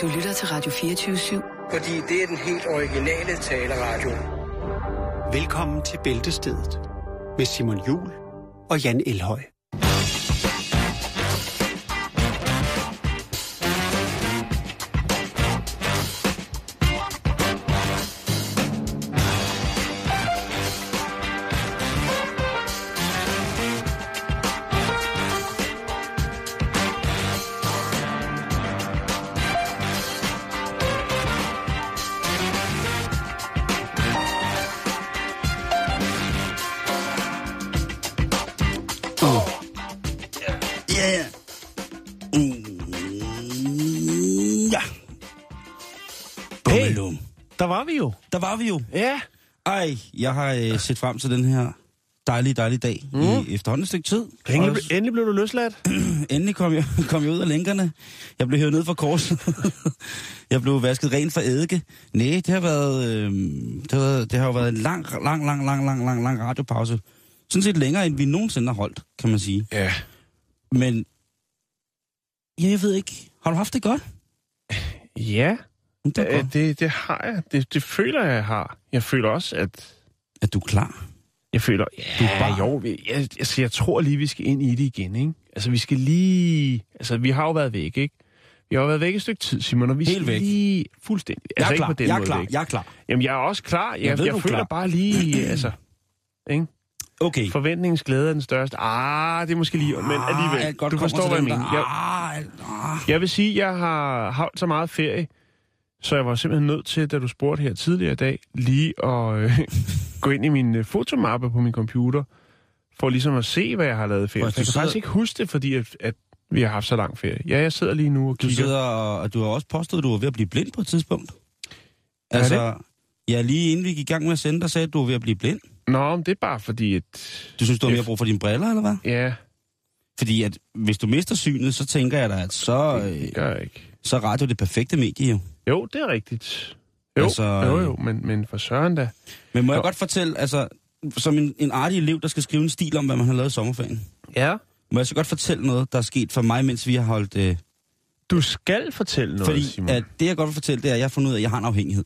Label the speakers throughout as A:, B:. A: Du lytter til Radio 24-7.
B: Fordi det er den helt originale taleradio.
C: Velkommen til Bæltestedet med Simon Jul og Jan Elhøj.
D: Der var vi jo.
E: Ja.
D: Ej, jeg har øh, set frem til den her dejlige, dejlige dag mm. i efterhånden et stykke tid.
E: Endelig, ble, endelig blev du løsladt.
D: endelig kom jeg, kom jeg ud af lænkerne. Jeg blev hævet ned fra korset. jeg blev vasket rent for eddike. Nej, det har været, øh, det har, været, det har jo været en lang, lang, lang, lang, lang, lang, lang radiopause. Sådan set længere, end vi nogensinde har holdt, kan man sige.
E: Ja.
D: Men, ja, jeg ved ikke. Har du haft det godt?
E: Ja.
D: Det,
E: Øh, det, det har jeg. Det, det føler jeg, jeg har. Jeg føler også, at...
D: Er du klar?
E: Jeg føler... Ja, du er bare... jo. vi- Jeg, altså, jeg tror lige, vi skal ind i det igen, ikke? Altså, vi skal lige... Altså, vi har jo været væk, ikke? Vi har jo været væk et stykke tid, Simon, og vi
D: Helt
E: skal
D: væk.
E: lige... Fuldstændig.
D: Jeg
E: altså,
D: er
E: ikke
D: klar.
E: på den
D: Jeg er
E: måde
D: klar.
E: væk.
D: Jeg er klar.
E: Jamen, jeg er også klar. Jeg, jeg,
D: ved,
E: jeg
D: du er
E: føler
D: klar.
E: bare lige... altså, ikke?
D: Okay.
E: Forventningens glæde er den største. Ah, det er måske lige... Men alligevel,
D: Ah, jeg godt
E: du
D: kommer
E: forstår,
D: til
E: hvad jeg
D: den
E: mener.
D: der.
E: Jeg,
D: Ah, ah.
E: Jeg vil sige, at jeg har holdt så meget ferie, så jeg var simpelthen nødt til, da du spurgte her tidligere i dag, lige at øh, gå ind i min øh, fotomappe på min computer, for ligesom at se, hvad jeg har lavet i ferie.
D: Prøv,
E: Jeg
D: du
E: kan
D: sidder-
E: faktisk ikke huske det, fordi at, at vi har haft så lang ferie. Ja, jeg sidder lige nu og
D: Du
E: kigger.
D: sidder og, og du har også påstået, at du var ved at blive blind på et tidspunkt. Altså, ja, lige inden vi gik i gang med at sende, der sagde du, at du var ved at blive blind.
E: Nå, men det er bare fordi, at...
D: Du synes, du har
E: Ja.
D: mere brug for dine briller, eller hvad?
E: Ja,
D: Fordi at, hvis du mister synet, så tænker jeg da, at så, øh,
E: det gør jeg ikke.
D: så er radio det perfekte medie jo.
E: Jo, det er rigtigt. Jo,
D: Altså,
E: altså, jo, jo, men, men for søren da.
D: Men må jeg
E: Jo.
D: godt fortælle, altså, som en, en artig elev, der skal skrive en stil om, hvad man har lavet i sommerferien,
E: Ja.
D: må jeg så godt fortælle noget, der er sket for mig, mens vi har holdt... Øh,
E: Du skal fortælle noget,
D: fordi
E: Simon.
D: at det, jeg godt vil fortælle, det er, at jeg har fundet ud af, at jeg har en afhængighed.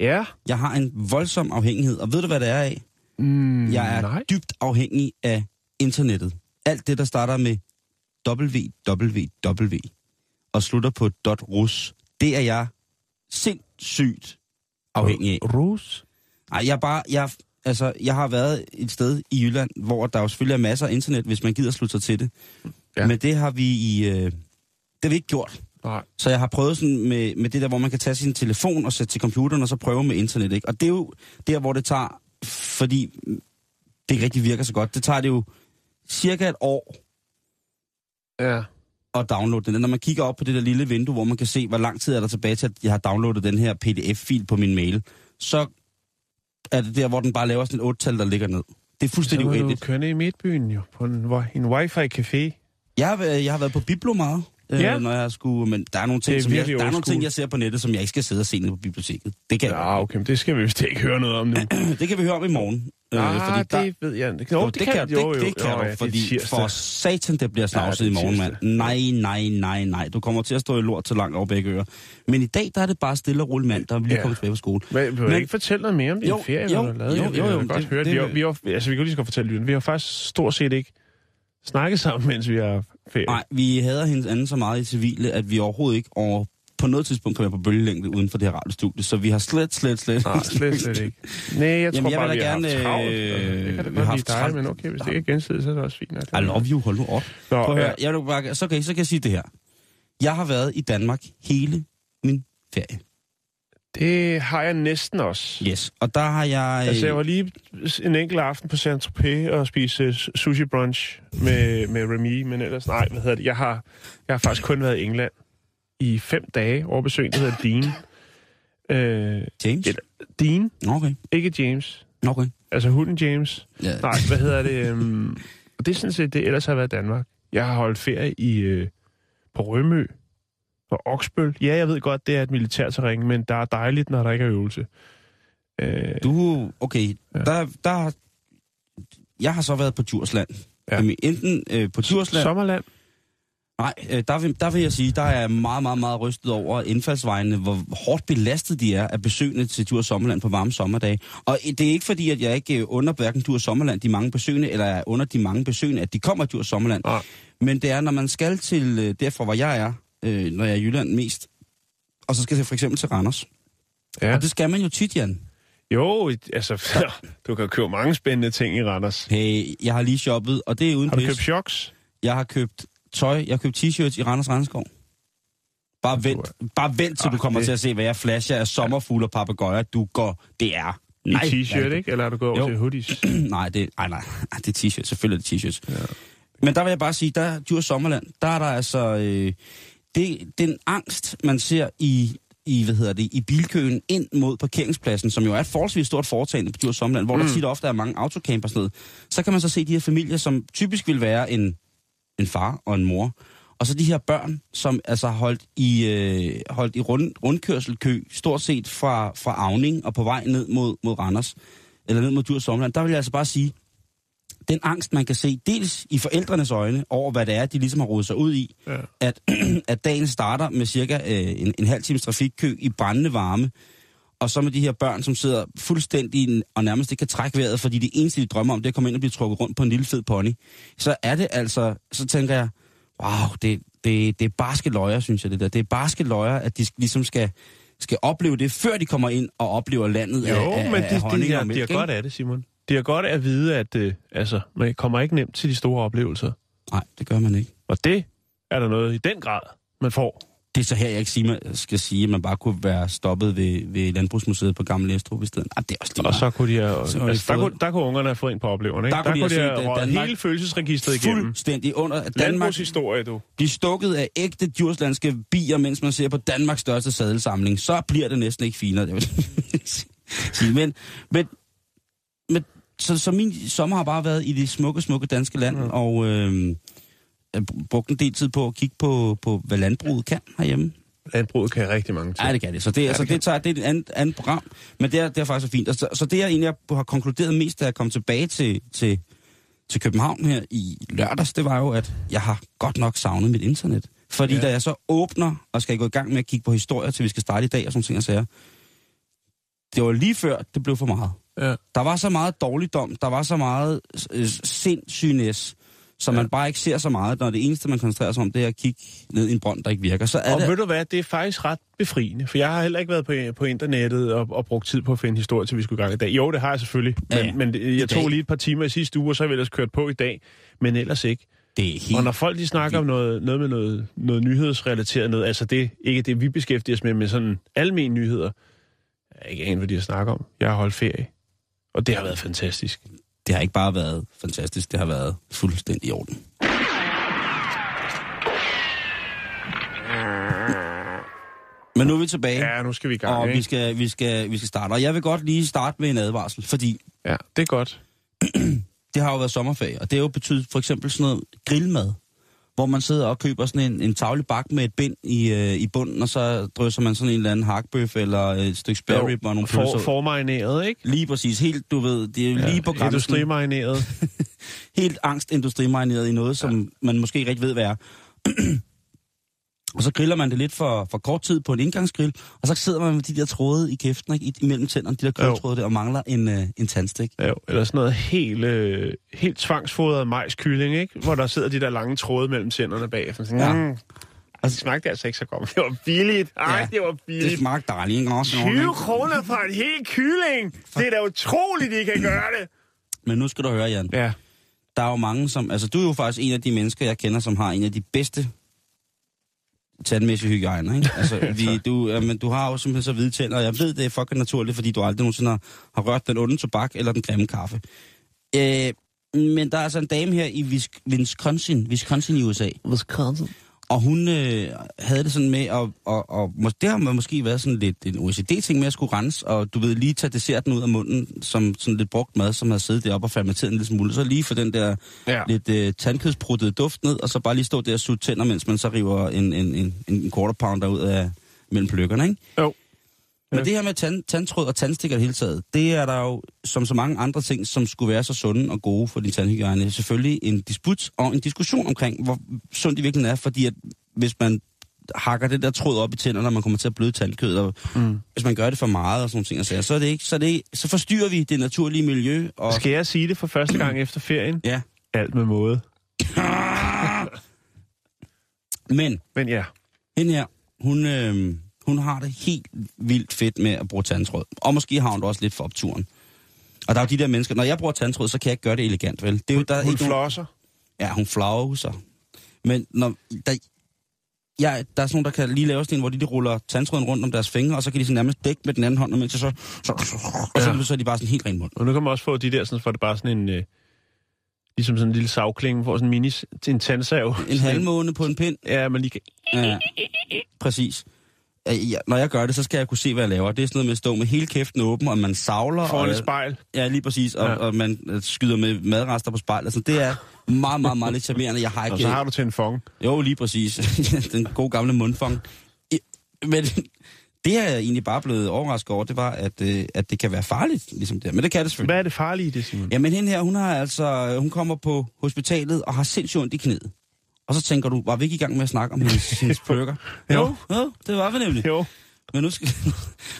E: Ja.
D: Jeg har en voldsom afhængighed, og ved du, hvad det er af?
E: Mm,
D: Jeg er
E: nej.
D: dybt afhængig af internettet. Alt det, der starter med www og slutter på .rus, det er jeg sindssygt afhængig af.
E: Rus?
D: Ej, jeg er bare, jeg, altså, jeg har været et sted i Jylland, hvor der jo selvfølgelig er masser af internet, hvis man gider slutte sig til det.
E: Ja.
D: Ja. Men det har vi i, øh, det har vi ikke gjort.
E: Nej.
D: Så jeg har prøvet sådan med, med det der, hvor man kan tage sin telefon og sætte til computeren, og så prøve med internet, ikke? Og det er jo der, hvor det tager, fordi det ikke rigtig virker så godt, det tager det jo cirka et år
E: Ja.
D: at downloade den. Når man kigger op på det der lille vindue, hvor man kan se, hvor lang tid er der tilbage til, at jeg har downloadet den her pdf-fil på min mail, så er det der, hvor den bare laver sådan et 8-tal, der ligger ned. Det er fuldstændig
E: Så må du
D: uendeligt.
E: køre ned i midtbyen jo, på en, wi- en wifi-café.
D: Jeg har, været- jeg har været på Biblo meget, øh,
E: Ja.
D: ja. når jeg skulle, men der er nogle
E: Det
D: ting,
E: er
D: er som jeg,
E: virkelig
D: der er nogle
E: old school.
D: ting, jeg ser på nettet, som jeg ikke skal sidde og se nede på biblioteket. Det kan,
E: Ja, okay, men det skal vi vist ikke høre noget om nu.
D: det kan vi høre om i morgen. Øh,
E: Ah, det ved jeg ikke. Jo,
D: Jo, det, det kan,
E: jo,
D: det,
E: jo,
D: det kan
E: jo,
D: du,
E: ja, er
D: fordi
E: tirsdag.
D: for satan, det bliver snavset
E: Ja,
D: ja,
E: det
D: i
E: er
D: morgen, mand.
E: tirsdag.
D: Nej, nej, nej, nej. Du kommer til at stå i lort til langt over begge ører. Men i dag, der er det bare stille og roligt, mand, der er lige
E: Ja.
D: ja. kommet tilbage på skole.
E: Men vil du
D: Men-
E: ikke fortælle noget mere om din
D: Jo,
E: ferie,
D: jo,
E: hvad du har lavet?
D: jo,
E: Jeg vil
D: jo, jo,
E: godt
D: det-
E: høre det.
D: det
E: Vi, har,
D: vil-
E: vi, har, altså, vi kan jo lige så godt fortælle lyden. Vi har faktisk stort set ikke snakket sammen, mens vi har ferie.
D: Nej, vi hader hendes anden så meget i civile, at vi overhovedet ikke over på noget tidspunkt kan være på bølgelængde uden for det her radiostudie, så vi har slet, slet, slet...
E: Nej, slet, slet ikke. Nej, jeg tror
D: Jamen, jeg
E: bare,
D: vil da gerne,
E: vi har haft travlt.
D: øh,
E: det
D: vi
E: kan da godt
D: har
E: lide
D: haft
E: dig,
D: travlt.
E: men okay, hvis det ikke er gensidigt, så er det også fint. nok.
D: I love you, hold nu op.
E: Nå,
D: Prøv at
E: ja.
D: høre, jeg vil bare, så, kan, så kan jeg sige det her. Jeg har været i Danmark hele min ferie.
E: Det har jeg næsten også.
D: Yes. Og der har jeg...
E: Altså, jeg var lige en enkelt aften på Saint-Tropez og spiste øh, sushi brunch med, med Remy, men ellers, nej, hvad hedder det? Jeg har, jeg har faktisk kun været i England i fem dage over besøg, der hedder Dean. Øh,
D: James?
E: et- Dean,
D: Okay,
E: ikke James.
D: okay.
E: Altså hunden James.
D: Ja.
E: Nej, hvad hedder det? øhm, Og det er sådan set det, ellers har jeg været i Danmark. Jeg har holdt ferie i, øh, på Rømø og Oksbøl. Ja, jeg ved godt, det er et militærterræn, men der er dejligt, når der ikke er øvelse. Øh,
D: Du, okay,
E: Ja.
D: ja. der, der, jeg har så været på Djursland.
E: Ja.
D: Ja. Enten øh, på Djursland,
E: Sommerland.
D: Nej, øh, der vil, der vil jeg sige, der er jeg meget, meget, meget rystet over indfaldsvejene, hvor hårdt belastet de er af besøgende til Tur Sommerland på varme sommerdage. Og øh, det er ikke fordi, at jeg ikke øh, under hverken Tur Sommerland de mange besøgende, eller er under de mange besøgende, at de kommer Tur Sommerland.
E: Nej.
D: Men det er, når man skal til øh, derfra, hvor jeg er, øh, når jeg er i Jylland mest, og så skal jeg for eksempel til Randers. Ja.
E: Ja.
D: Og det skal man jo tit, Jan.
E: Jo, et- altså, du kan købe mange spændende ting i Randers.
D: Hey, jeg har lige shoppet, og det er uden
E: Har du
D: pis.
E: købt choks?
D: Jeg har købt tøj, jeg har købt t-shirts i Randers Randskov. Bare vent, bare vent til du
E: Ah,
D: kommer
E: det-
D: til at se, hvad jeg flasher af sommerfugle og papegøjer. Du går, det er.
E: I
D: Nej,
E: t-shirt,
D: det-
E: ikke? Eller har du gået over
D: Jo.
E: til hoodies?
D: nej, det, ej, nej, Ej, det er t-shirt. Selvfølgelig er det t-shirts. Ja. Men der vil jeg bare sige, der Djurs Sommerland, der er der altså... Øh, det, den angst, man ser i, i, hvad hedder det, i bilkøen ind mod parkeringspladsen, som jo er et forholdsvis stort foretagende på Djurs Sommerland, hvor mm. der tit og ofte er mange autocamper og sådan noget, så kan man så se de her familier, som typisk vil være en, en far og en mor, og så de her børn, som altså har holdt i, øh, holdt i rund, rundkørselkø, stort set fra, fra Avning og på vej ned mod, mod Randers, eller ned mod Djurs Sommerland, der vil jeg altså bare sige, den angst, man kan se, dels i forældrenes øjne, over hvad det er, de ligesom har rodet sig ud i, ja. at, at dagen starter med cirka øh, en, en halv times trafikkø i brændende varme, og så med de her børn, som sidder fuldstændig n- og nærmest ikke kan trække vejret, fordi det eneste, de drømmer om, det er at komme ind og blive trukket rundt på en lille fed pony, så er det altså, så tænker jeg, wow, det, det, det er barske løjer, synes jeg det der. Det er barske løjer, at de sk- ligesom skal, skal opleve det, før de kommer ind og oplever landet
E: Jo,
D: af, af,
E: men
D: af
E: de, de,
D: honning
E: de,
D: og
E: har- de
D: mælk,
E: har
D: ikke?
E: godt af det, Simon. De har godt af at vide, at øh, altså, man kommer ikke nemt til de store oplevelser.
D: Nej, det gør man ikke.
E: Og det er der noget i den grad, man får.
D: det er så her, jeg ikke sige, man skal sige, at man bare kunne være stoppet ved, ved Landbrugsmuseet på Gamle Estrup i stedet. Ah, det er også lige
E: Og så kunne de have,
D: Så har de
E: altså, der,
D: fået-
E: kunne, der kunne ungerne have fået en på opleveren, ikke?
D: Der kunne de have set,
E: have
D: at
E: røget
D: Danmark-
E: hele følelsesregisteret igennem.
D: fuldstændig under. at Danmark
E: Danmarks historie, du.
D: bliver stukket af ægte djurslandske bier, mens man ser på Danmarks største sadelsamling. Så bliver det næsten ikke finere, det vil jeg sige. Men, men, men så, så min sommer har bare været i det smukke, smukke danske land, mm. og øh, brugt en del tid på at kigge på, på hvad landbruget kan herhjemme.
E: Landbruget kan rigtig mange ting.
D: Ja, det kan det. Så det, ja, altså, det, tager, det er et andet, andet program, men det er, det er faktisk fint. Og Så, så det, jeg egentlig har konkluderet mest, da jeg kom tilbage til, til, til København her i lørdags, det var jo, at jeg har godt nok savnet mit internet. Fordi ja. da jeg så åbner og skal gå i gang med at kigge på historier, til vi skal starte i dag og sådan nogle ting og sager, det var lige før, det blev for meget.
E: Ja.
D: Der var så meget dårligdom, der var så meget øh, sindssygnæs, så ja. man bare ikke ser så meget, når det eneste, man koncentrerer sig om, det er at kigge ned i en brønd, der ikke virker. Så er
E: Og
D: det,
E: ved du hvad, det er faktisk ret befriende, for jeg har heller ikke været på, på internettet og, og brugt tid på at finde historie, til vi skulle i gang i dag. Jo, det har jeg selvfølgelig,
D: Ja,
E: men, ja,
D: ja.
E: men det-
D: I
E: jeg
D: dag.
E: tog lige et par timer i sidste uge, og så har vi ellers kørt på i dag, men ellers ikke.
D: det er helt
E: Og når folk de snakker om noget, noget med noget, noget nyhedsrelateret noget, altså det ikke det, vi beskæftiger os med, men sådan almen nyheder, jeg er ikke anet, hvad de har snakket om. Jeg har holdt ferie, og det har været fantastisk.
D: det har ikke bare været fantastisk, det har været fuldstændig i orden. Men nu er vi tilbage,
E: Ja, nu skal vi i gang,
D: og
E: ikke?
D: vi skal, vi, skal, vi skal starte. Og jeg vil godt lige starte med en advarsel, fordi
E: Ja, det er godt.
D: det har jo været sommerferie, og det har jo betydet for eksempel sådan noget grillmad, hvor man sidder og køber sådan en, en tavlig bak med et bind i, øh, i bunden, og så drysser man sådan en eller anden hakbøf eller et stykke spare rib og nogle
E: for,
D: pølser.
E: Formarineret, ikke?
D: Lige præcis, helt, du ved, det er jo ja, lige på grænsen.
E: Industrimarineret.
D: helt angstindustrimarineret i noget, som ja. man måske ikke rigtig ved, hvad er. og så griller man det lidt for, for kort tid på en indgangsgrill, og så sidder man med de der tråde i kæften, ikke? I, imellem tænderne, de der
E: Jo.
D: krøltråde der, og mangler en, øh, en tandstik.
E: Ja, jo, eller sådan noget helt, øh, helt tvangsfodret majskylling, ikke? Hvor der sidder de der lange tråde mellem tænderne bag. Sådan,
D: Ja.
E: ja. mm, og så smagte det altså ikke så godt. Det var billigt. Ej,
D: Ja,
E: ja, det var
D: Det
E: billigt. Det
D: smager dejligt, ikke? Også,
E: 20 kroner for en hel kylling! Det er da utroligt, I kan gøre det!
D: Men nu skal du høre, Jan.
E: Ja.
D: Der er jo mange, som... Altså, du er jo faktisk en af de mennesker, jeg kender, som har en af de bedste tandmæssige hygiejner, ikke? Altså, vi, du, ja, men du har jo simpelthen så hvide tænder, og jeg ved, det er fucking naturligt, fordi du aldrig nogensinde har, har rørt den onde tobak eller den grimme kaffe. Øh, men der er altså en dame her i Vis- Wisconsin, Wisconsin i USA,
E: Wisconsin.
D: og hun øh, havde det sådan med, og, og, og mås- det har man måske været sådan lidt en OECD-ting med at skulle rense, og du ved, lige tage desserten ud af munden, som sådan lidt brugt mad, som havde siddet deroppe og fermenteret en lille smule, så lige få den der ja.
E: Ja.
D: lidt øh, tandkødspruttede duft ned, og så bare lige stå der og suge tænder, mens man så river en, en, en, en quarter pounder ud af mellem pløkkerne, ikke?
E: Jo.
D: Men det her med tand, tandtråd og tandstikker i det hele taget, det er der jo, som så mange andre ting, som skulle være så sunde og gode for din tandhygiejne, selvfølgelig en disput og en diskussion omkring, hvor sundt det virkelig er, fordi at hvis man hakker det der tråd op i tænderne, og man kommer til at bløde tandkødet, og mm. hvis man gør det for meget og sådan nogle ting, og sager, så, er det ikke, så, er det ikke, så forstyrrer vi det naturlige miljø. Og,
E: Skal jeg sige det for første gang efter ferien?
D: ja.
E: Alt med måde.
D: Men
E: Men ja,
D: hende her, hun, øh, hun har det helt vildt fedt med at bruge tandtråd. Og måske har hun det også lidt for opturen. Og der er jo de der mennesker, når jeg bruger tandtråd, så kan jeg ikke gøre det elegant, vel? Det er jo, der er
E: hun
D: ikke nogen-
E: flosser.
D: Ja, hun flauser. Men når, der, ja, der er sådan nogle, der kan lige lave sådan en, hvor de, de ruller tandtråden rundt om deres fingre, og så kan de sådan nærmest dække med den anden hånd, og mens jeg så, så, så, og så,
E: Ja.
D: så er de bare sådan helt ren mund.
E: Og nu kan man også få de der, sådan, for det bare sådan en... Øh, ligesom sådan en lille savklinge, hvor sådan en mini... En tandsav.
D: En halvmåne på en pind.
E: Ja, man lige kan...
D: Ja, præcis. Øh, Ja, når jeg gør det, så skal jeg kunne se, hvad jeg laver. Det er sådan noget med at stå med hele kæften åben, og man savler.
E: Foran
D: og,
E: et spejl.
D: Ja, lige præcis. Og,
E: Ja.
D: ja. og man øh, skyder med madrester på spejlet. Altså, det er meget, meget, meget lidt charmerende. Jeg har ikke...
E: Og så har du til en fong.
D: Jo, lige præcis. Den gode gamle mundfang. I- Men det jeg egentlig bare blevet overrasket over, det var, at, øh, at det kan være farligt, ligesom det. her. Men det kan det selvfølgelig.
E: Hvad er det farlige i det, Simon?
D: Jamen hende her, hun har altså, hun kommer på hospitalet og har sindssygt ondt i knæet. Og så tænker du, var vi ikke i gang med at snakke om hendes, hendes burger?
E: Jo.
D: jo, det var vi nemlig.
E: Jo.
D: Men nu skal,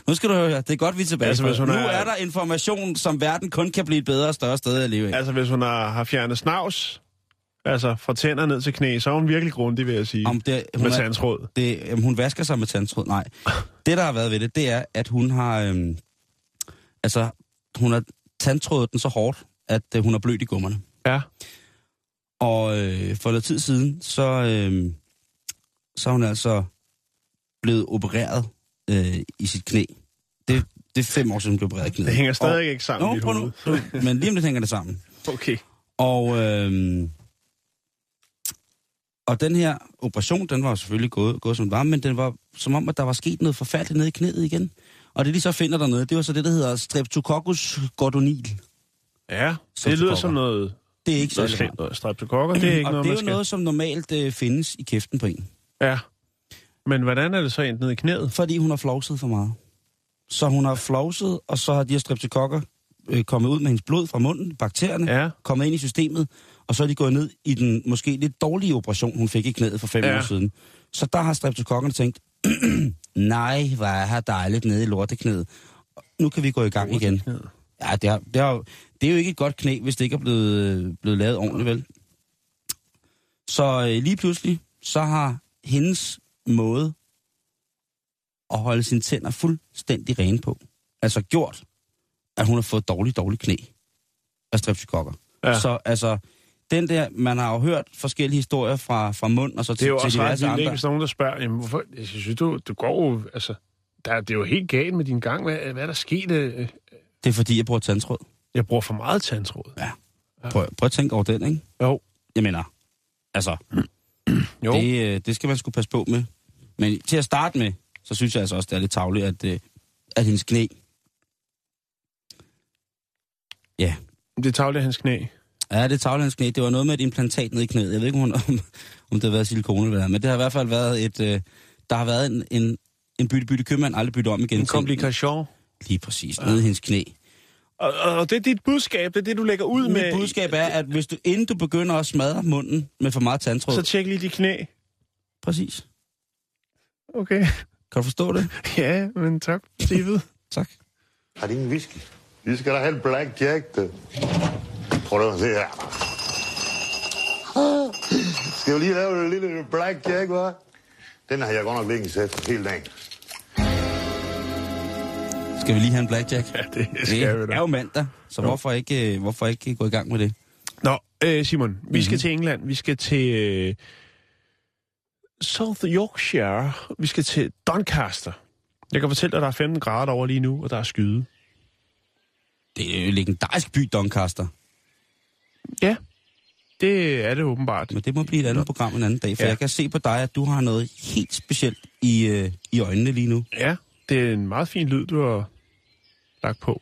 D: nu skal du høre her. Det er godt, vi er tilbage.
E: Altså, hvis hun
D: nu
E: er-
D: er... der information, som verden kun kan blive et bedre og større sted at leve af.
E: Altså, hvis hun har, har fjernet snavs, altså fra tænder ned til knæ, så er hun virkelig grundig, vil jeg sige.
D: Om det, hun
E: med
D: er-
E: tandsråd.
D: Det, jamen, hun vasker sig med tandtråd. Nej. Det, der har været ved det, det er, at hun har... Øhm, altså, hun har tandtrådet den så hårdt, at øh, hun er blødt i gummerne.
E: Ja.
D: Og øh, for noget tid siden, så, øh, så er hun altså blevet opereret øh, i sit knæ. Det, det er fem år siden, hun blev opereret i knæet.
E: Det hænger stadig ikke sammen i
D: Nå,
E: mit
D: prøv nu. Du- Men lige om lidt hænger det sammen.
E: Okay.
D: Og, øhm, og den her operation, den var jo selvfølgelig gået, gået som den var, men den var som om, at der var sket noget forfærdeligt nede i knæet igen. Og det de så finder dernede, det var så det, der hedder Streptococcus gordonil.
E: Ja, det
D: Streptokokker.
E: lyder som noget,
D: Det er ikke
E: noget
D: særlig
E: slemt
D: rart.
E: noget. Streptokokker, det er ikke
D: Og
E: noget,
D: det er
E: man
D: jo
E: skal...
D: noget, som normalt øh, findes i kæften på en.
E: Ja. Men hvordan er det så endt ned i knæet?
D: Fordi hun har flowset for meget. Så hun har flowset, og så har de her streptokokker øh, kommet ud med hendes blod fra munden, bakterierne,
E: Ja.
D: kommet ind i systemet, og så er de gået ned i den måske lidt dårlige operation, hun fik i knæet for fem
E: Ja.
D: ja. år siden. Så der har streptokokkerne tænkt, nej, hvor er her dejligt nede i lorteknæet. Nu kan vi gå i gang igen. Ja, det, har, det, har, det er jo ikke et godt knæ, hvis det ikke er blevet, øh, blevet lavet ordentligt, vel? Så øh, lige pludselig, så har hendes måde at holde sine tænder fuldstændig rene på, altså gjort, at hun har fået dårlig, dårlig knæ af streptokokker.
E: Ja.
D: Ja. Så altså, den der, man har jo hørt forskellige historier fra, fra mund og så
E: Det er
D: til,
E: jo
D: til
E: også ret
D: diverse
E: vildt, ikke,
D: andre.
E: hvis der er nogen, der spørger, jamen, hvorfor, jeg synes, du, du går jo, altså, der, det er jo helt galt med din gang. Hvad, hvad er der sket? øh?
D: Det er fordi, jeg bruger tandtråd.
E: Jeg bruger for meget tandsråd.
D: Prøv, prøv at tænke over den, ikke?
E: Jo.
D: Jeg mener, altså,
E: Jo.
D: Det, øh, det skal man skulle passe på med. Men til at starte med, så synes jeg altså også, det er lidt tavligt, at, øh, at hendes knæ... Ja,
E: Det er tavlet af hans knæ.
D: ja det er tavligt, hendes knæ. Det var noget med et implantat ned i knæet. Jeg ved ikke, om, om, om det har været silikone eller hvad, men det har i hvert fald været et... Øh, der har været en, en, en bytte, bytte købmand, aldrig bytte om igen.
E: En komplikation.
D: Lige præcis, nede i hendes knæ.
E: Og, og, og det er dit budskab, det er det, du lægger ud med.
D: Mit budskab er, at hvis du, inden du begynder at smadre munden med for meget tandtråd...
E: Så tjek lige de knæ.
D: Præcis.
E: Okay.
D: Kan du forstå det?
E: Ja, men tak, David.
D: Tak.
F: Har de ingen whisky?
G: Vi skal da have en Black Jack, det. Prøv lige at se her. Skal vi lige lave en lille Black Jack, hva'? Den har jeg godt nok længe set hele dagen.
D: Skal vi lige have en blackjack?
E: Ja, det
D: Det er jo mandag, så hvorfor ikke, øh, hvorfor ikke gå i gang med det?
E: Nå, øh, Simon, vi skal til England. Vi skal til øh, South Yorkshire. Vi skal til Doncaster. Jeg kan fortælle dig, at der er 15 grader over lige nu, og der er skyde.
D: Det er jo en legendarisk by, Doncaster.
E: Ja, det er det åbenbart.
D: Men det må blive et andet program en anden dag, for
E: Ja.
D: ja. jeg kan se på dig, at du har noget helt specielt i, øh, i øjnene lige nu.
E: Ja, det er en meget fin lyd, du har lagt på.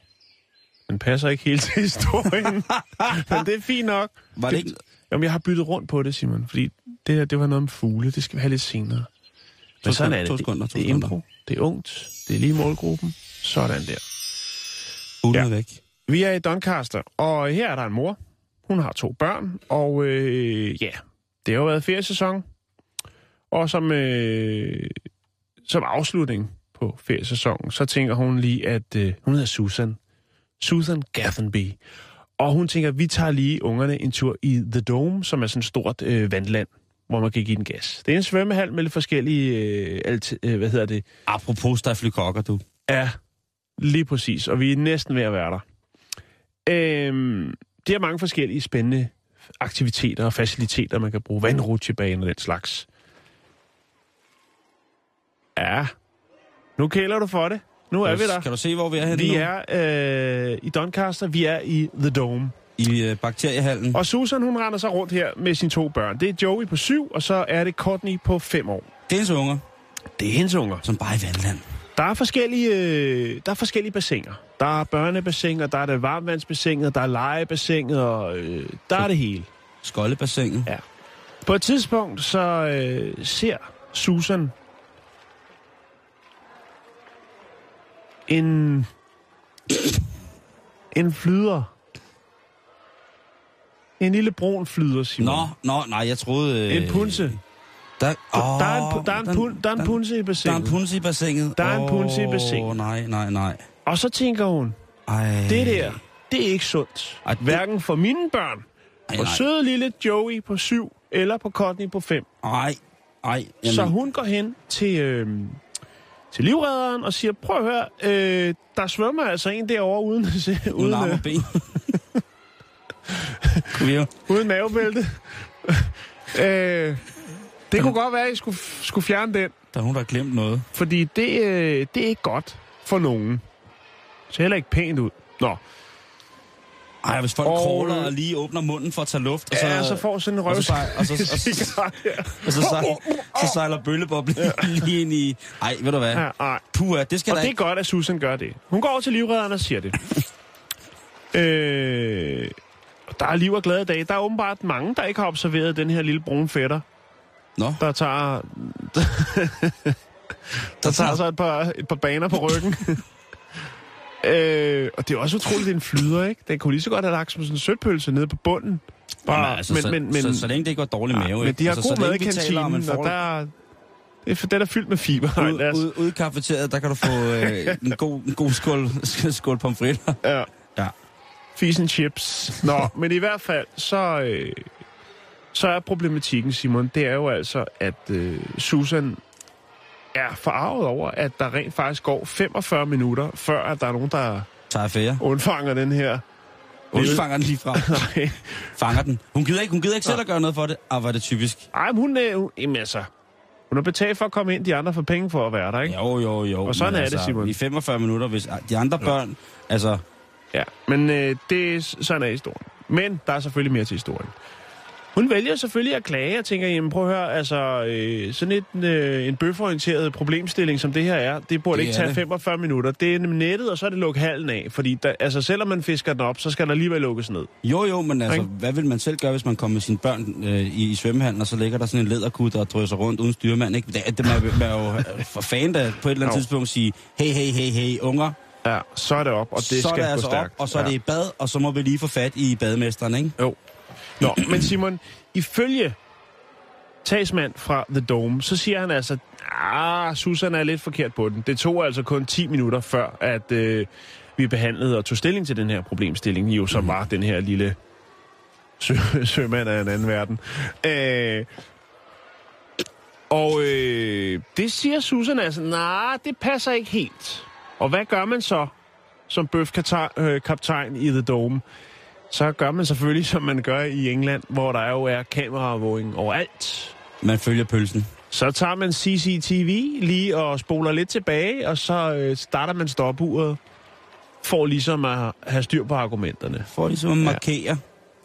E: Den passer ikke helt til historien, men det er fint nok.
D: Var det ikke?
E: Jamen, jeg har byttet rundt på det, Simon, fordi det her, det var noget om fugle. Det skal vi have lidt senere.
D: To sekunder, to sekunder, to
E: det er
D: sekunder.
E: impro, det er ungt, det er lige målgruppen. Sådan der.
D: Ulen
E: Ja.
D: er væk.
E: Vi er i Doncaster, og her er der en mor. Hun har to børn, og øh, ja, det har jo været feriesæson. Og som, øh, som afslutning på feriesæsonen, så tænker hun lige, at øh, hun hedder Susan. Susan Gathenby. Og hun tænker, at vi tager lige ungerne en tur i The Dome, som er sådan et stort øh, vandland, hvor man kan give den gas. Det er en svømmehal med lidt forskellige, øh, alt, øh, hvad hedder det,
D: Apropos Staffel Kokker, du.
E: Ja, lige præcis. Og vi er næsten ved at være der. Øhm, det er mange forskellige spændende aktiviteter og faciliteter, man kan bruge. Vandrutsjebaner og den slags. Ja, nu kæler du for det. Nu er vi der.
D: Kan du se, hvor vi er henne
E: Vi
D: nu?
E: er øh, i Doncaster, vi er i The Dome.
D: I øh, bakteriehallen.
E: Og Susan, hun render sig rundt her med sine to børn. Det er Joey på syv, og så er det Courtney på fem år.
D: Det er ens unger,
E: Det er hendes unger.
D: som bare er i vandland.
E: Der er forskellige, øh, der er forskellige bassiner. Der er børnebassiner, der er det varmvandsbassinet, der er legebassinet, og øh, der er det hele.
D: Skoldebassinet.
E: Ja. På et tidspunkt så øh, ser Susan en en flyder. En lille brun flyder, Simon.
D: Nå, nå, nej, jeg troede... øh,
E: En punse.
D: Der,
E: Oh, der, er en, pu-
D: Åh,
E: der, er en, pun- der er en punse
D: Der er
E: i
D: en
E: bassinet.
D: punse i bassinet.
E: Der er en punse i
D: Åh,
E: bassinet.
D: nej, nej, nej.
E: Og så tænker hun,
D: Ej.
E: Det der, det er ikke sundt.
D: Ej, det-
E: Hverken for mine børn,
D: Ej,
E: for
D: nej.
E: søde lille Joey på syv, eller på Courtney på fem.
D: Ej, ej. Jamen,
E: Så hun går hen til, øh, til livredderen og siger, prøv at høre, øh, der svømmer altså en derovre uden,
D: uden
E: uden,
D: arm
E: øh,
D: og ben. Kunne vi jo-
E: uden mavebælte. øh, det kunne godt være, at I skulle, skulle fjerne den,
D: der er nogen, der har glemt noget.
E: fordi det, øh, det er ikke godt for nogen. Så heller ikke pænt ud. Nå,
D: Ej, hvis folk
E: Og-
D: og... crawler og lige åbner munden for at tage luft, og så,
E: så, ja, så får sådan en
D: og
E: røv.
D: så, sej- og så, og så, og så, sej- så sejler bøllebob lige ind i... Ej, ved du hvad?
E: Ja, ej.
D: Puha, det skal
E: Og
D: der
E: det er godt, at Susan gør det. Hun går over til livredderen og siger det. øh, der er liv og glade dage. Der er åbenbart mange, der ikke har observeret den her lille brune fætter,
D: Nå,
E: der tager, der tager sig et par, et par baner på ryggen. øh, og det er også utroligt, det er en flyder, ikke? Den kunne lige så godt have lagt som sådan en sødpølse nede på bunden. Bare,
D: Jamen, altså, men, så, men, men, så, så, længe det ikke går dårlig mave,
E: men de har
D: altså,
E: altså, god
D: så
E: mad i
D: længe vi taler om en
E: kantinen, og
D: forhold-
E: der er, det er, den er fyldt med fiber. Nej, lad os-
D: Ude, ude, ude i kafeteriet, der kan du få øh, en god, en god skål, skål pomfritter.
E: Ja.
D: Ja.
E: Fisen chips. Nå, men i hvert fald, så, øh, så er problematikken, Simon, det er jo altså, at øh, Susan er forarvet over, at der rent faktisk går 45 minutter, før at der er nogen, der
D: Tager affære.
E: undfanger den her.
D: Hun fanger den lige fra.
E: Nej.
D: Fanger den. Hun gider ikke, hun gider ikke selv at gøre noget for det. Ah, hvor er det typisk.
E: Ej, men hun, øh, hun, jamen altså, hun har betalt for at komme ind, de andre får penge for at være der, ikke?
D: Jo, jo, jo.
E: Og sådan
D: men altså,
E: er det, Simon.
D: I 45 minutter, hvis ah, de andre børn... Altså,
E: Ja, men øh, det, er- sådan er historien. Men der er selvfølgelig mere til historien. Hun vælger selvfølgelig at klage og tænker, jamen prøv at høre, altså øh, sådan et, øh, en bøforienteret problemstilling, som det her er, det burde
D: Det
E: det ikke
D: er
E: tage
D: det.
E: 45 minutter. Det er nemlig nettet, og så er det lukket halen af, fordi der, altså, selvom man fisker den op, så skal der alligevel lukkes ned.
D: jo, jo, men altså,
E: Ikke?
D: hvad vil man selv gøre, hvis man kommer med sine børn øh, i, i svømmehallen, og så ligger der sådan en læderkud, der drysser rundt uden styrmand, ikke? Det, det man, man er jo øh, for fan, der på et eller andet
E: Jo.
D: tidspunkt sige, hey, hey, hey, hey, unger,
E: Ja, så er det op, og det
D: så er
E: skal
D: det
E: gå
D: altså
E: stærkt.
D: op, og så er
E: ja.
D: det i bad, og så må vi lige få fat i bademesteren, ikke?
E: Jo. Nå, men Simon, ifølge talsmand fra The Dome, så siger han altså, ah, Susan er lidt forkert på den. Det tog altså kun 10 minutter før, at øh, vi behandlede og tog stilling til den her problemstilling, jo som var den her lille sø- sømand af en anden verden. Øh, og øh, det siger Susan altså, nej, nah, det passer ikke helt. Og hvad gør man så som bøfkaptajn øh, i The Dome? så gør man selvfølgelig, som man gør i England, hvor der jo er kameraovervågning overalt.
D: Man følger pølsen.
E: Så tager man CCTV lige og spoler lidt tilbage, og så øh, starter man stopuret for ligesom at have styr på argumenterne.
D: For ligesom at markere.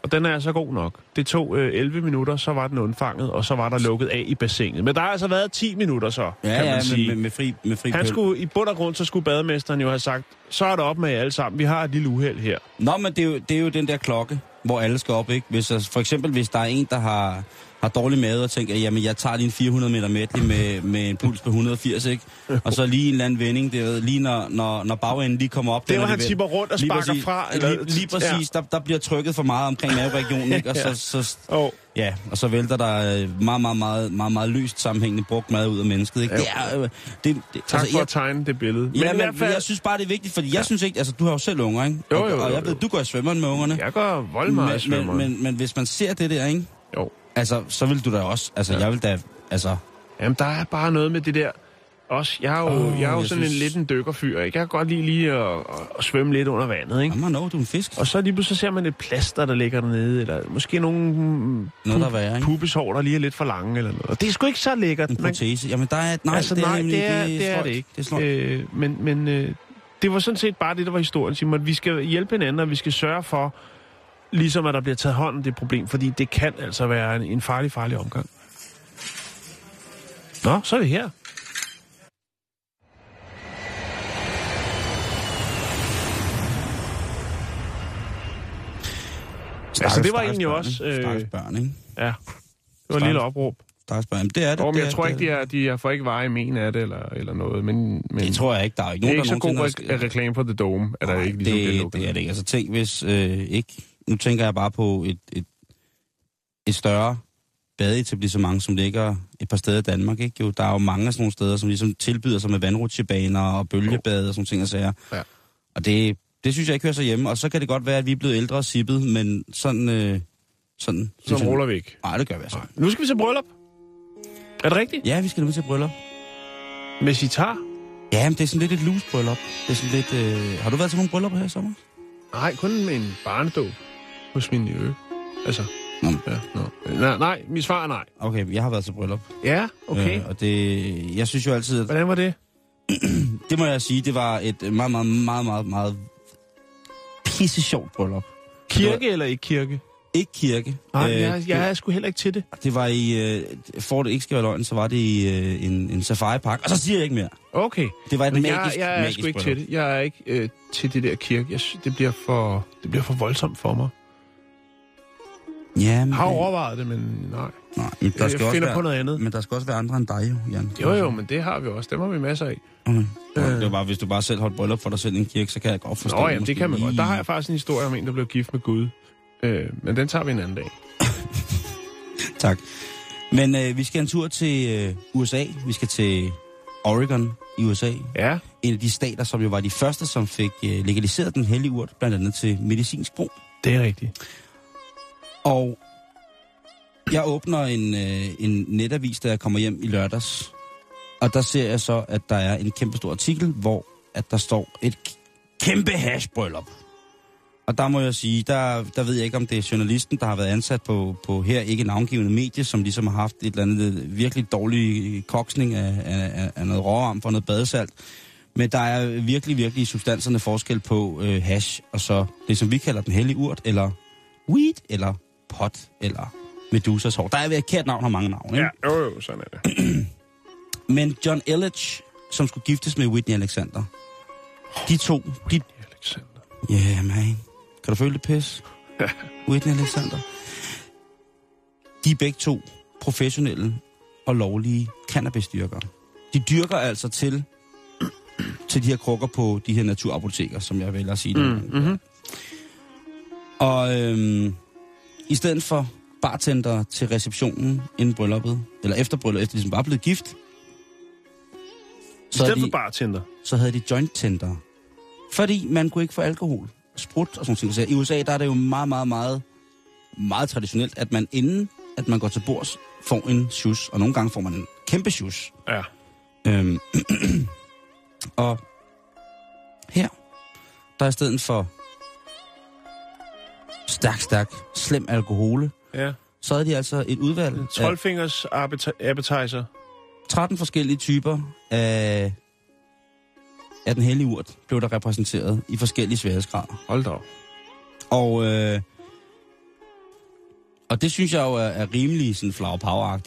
E: Og den er så god nok. Det tog øh, 11 minutter, så var den undfanget, og så var der lukket af i bassinet. Men der har altså været 10 minutter så,
D: Ja,
E: kan man
D: ja, ja
E: sige.
D: med, med, med fri, med fri
E: Han
D: pøl.
E: skulle, I bund og grund, så skulle bademesteren jo have sagt, så er det op med jer alle sammen, vi har et lille uheld her.
D: Nå, men det er, jo, det er jo den der klokke. hvor alle skal op, ikke? Hvis, altså, for eksempel, hvis der er en, der har, har dårlig mave og tænker, jamen, jeg tager lige en 400 meter medley med, med en puls på 180, ikke? Og så lige en eller anden vending, det ved, lige når, når, når bagenden lige kommer op.
E: Det
D: den
E: er, hvor
D: de
E: han
D: vendt.
E: tipper rundt og
D: Lige
E: sparker fra, eller-
D: Lige, lige præcis, ja. der, der bliver trykket for meget omkring maveregionen, ikke? Og så, så,
E: Og
D: Ja, og så vælter der øh, meget, meget, meget, meget, meget løst sammenhængende brugt mad ud af mennesket. Ikke?
E: Jo.
D: Det er, øh, det, det,
E: tak altså, for at
D: jeg,
E: tegne det billede.
D: ja, men, jeg synes bare, det er vigtigt, fordi jeg synes ikke, altså du har jo selv unger, ikke?
E: Jo,
D: og,
E: jo, jo,
D: og jeg ved,
E: jo.
D: du går i svømmeren med ungerne.
E: jeg går vold meget i
D: men, men,
E: svømmeren.
D: men, men hvis man ser det der, ikke?
E: Jo.
D: Altså, så vil du da også, altså ja. jeg vil da, altså...
E: Jamen, der er bare noget med det der. Også, jeg er jo,
D: Åh,
E: oh, jeg er jo
D: jeg
E: sådan synes... en
D: synes-
E: lidt en dykkerfyr, ikke? Jeg kan godt lide lige at, at, at svømme lidt under vandet, ikke?
D: Jamen, nå, du er en fisk.
E: Og så lige pludselig ser man et plaster, der ligger dernede, eller måske nogle mm,
D: Noget, der
E: pu-
D: er værre, ikke?
E: pubeshår, der lige er lidt for lange, eller noget. Og det er sgu ikke så lækkert.
D: En
E: men-
D: protese. Jamen, der er... Nej,
E: altså,
D: det er,
E: nej,
D: nemlig-
E: det er, det, er
D: sløjt.
E: det ikke.
D: Det er sløjt.
E: øh, men men øh, det var sådan set bare det, der var historien, Simon. Vi skal hjælpe hinanden, og vi skal sørge for, ligesom at der bliver taget hånd om det problem, fordi det kan altså være en, en farlig, farlig omgang. Nå, så er det her. Altså, det var egentlig også...
D: Øh...
E: Øh,
D: Stakkels børn, ikke?
E: ja, det var et
D: Stakkels-
E: lille opråb.
D: Stakkels børn. Jamen, Det er det.
E: Nå, men
D: det
E: jeg
D: er,
E: tror ikke, de,
D: det.
E: er, de har for ikke veje i men af det, eller, eller noget. Men, men
D: Det tror jeg ikke. Der er ikke
E: det er
D: nogen,
E: ikke så
D: der
E: god
D: nogensinde har-
E: re- reklame på The Dome, at der
D: Nej,
E: ikke ligesom
D: det,
E: bliver lukket.
D: det er det ikke. Altså tænk, hvis øh, ikke... Nu tænker jeg bare på et, et, et større badeetablissement, som ligger et par steder i Danmark. Ikke? Jo, der er jo mange af sådan nogle steder, som ligesom tilbyder sig med vandrutsjebaner og bølgebade og sådan nogle ting og sager.
E: Ja.
D: Og det, det synes jeg ikke hører sig hjemme. Og så kan det godt være, at vi er blevet ældre og sippet, men sådan... Øh, sådan synes
E: Så
D: jeg-
E: ruller vi ikke.
D: Nej, det gør vi altså. ikke.
E: Nu skal vi til bryllup. Er det rigtigt?
D: Ja, vi skal nemlig til bryllup.
E: Med sitar?
D: Ja, men det er sådan lidt et loose bryllup. Det er sådan lidt... Øh... Har du været til nogle bryllupper her i sommer?
E: Nej, kun med en barnedåb hos min ø. Altså,
D: Nå.
E: ja, no. nej, nej, mit svar er nej.
D: Okay, jeg har været til bryllup.
E: Ja, okay.
D: og det, jeg synes jo altid, at
E: Hvordan var det?
D: det må jeg sige, det var et meget, meget, meget, meget, meget pisse sjovt bryllup.
E: Kirke eller ikke kirke?
D: Ikke kirke.
E: Nej,
D: Øh,
E: jeg, jeg er sgu heller ikke til det.
D: Det, det var i, øh, for det ikke skal være løgn, så var det i øh, en, en safari-park. Og så siger jeg ikke mere.
E: Okay.
D: Det var et
E: Men jeg,
D: magisk,
E: jeg er
D: magisk
E: sgu ikke
D: bryllup.
E: til det. Jeg er ikke øh, til det der kirke. Jeg, sy- det, bliver for, det bliver for voldsomt for mig.
D: Ja, men,
E: Jeg har overvejet det, men nej.
D: nej, men der
E: Jeg
D: skal også
E: Øh, finder
D: være,
E: på noget andet.
D: Men der skal også være andre end dig, jo, Jan.
E: Jo, jo, men det har vi også. Dem har vi masser af.
D: Okay. Det var bare, hvis du bare selv holdt bryllup for dig selv i en kirke, så kan jeg godt forstå.
E: Nå, jamen,
D: måske
E: det kan man
D: lige-
E: godt. Der har jeg faktisk en historie om en, der blev gift med Gud. Øh, men den tager vi en anden dag.
D: Tak. Men øh, vi skal en tur til øh, USA. Vi skal til Oregon i USA.
E: Ja,
D: En af de stater, som jo var de første, som fik øh, legaliseret den hellige urt, blandt andet til medicinsk brug.
E: det er rigtigt.
D: Og jeg åbner en, øh, en netavis, da jeg kommer hjem i lørdags. Og der ser jeg så, at der er en kæmpe stor artikel, hvor at der står et k- kæmpe hashbryllup. Og der må jeg sige, der, der ved jeg ikke, om det er journalisten, der har været ansat på, på her ikke navngivende medie, som ligesom har haft et eller andet virkelig dårlig koksning af, af, af- af noget råvarm for noget badesalt. Men der er virkelig, virkelig i substanserne forskel på øh, hash, og så det, som vi kalder den hellige urt, eller weed, eller pot, eller medusas hår. Der er ved et kært navn og mange navne. Ikke?
E: Ja, jo, jo, sådan er det.
D: Men John Ellich, som skulle giftes med Whitney Alexander, de to, de...
E: Alexander.
D: Ja, yeah, man. Kan du føle det pis? Whitney Alexander. De er begge to professionelle og lovlige cannabisdyrkere. De dyrker altså til, til de her krukker på de her naturapoteker, som jeg vælger at sige. Mm, mm-hmm. Og øhm, i stedet for bartender til receptionen inden brylluppet, eller efter brylluppet, efter de ligesom bare er blevet gift,
E: I
D: er
E: stedet
D: de-
E: for bartender.
D: så havde de joint tender. Fordi man kunne ikke få alkohol, sprut og sådan nogle ting. Så I USA der er det jo meget, meget, meget, meget traditionelt, at man inden at man går til bords, får en shoes. Og nogle gange får man en kæmpe shoes.
E: Ja.
D: Øhm, og her, der er i stedet for stærk, stærk, slem alkohole,
E: Ja.
D: så havde de altså et udvalg af
E: 12 fingers appeti- appetizer.
D: 13 forskellige typer af, af den hellige urt blev der repræsenteret i forskellige sværhedsgrader.
E: Hold da op.
D: Og, øh, og det synes jeg jo er, er rimelig sådan flower power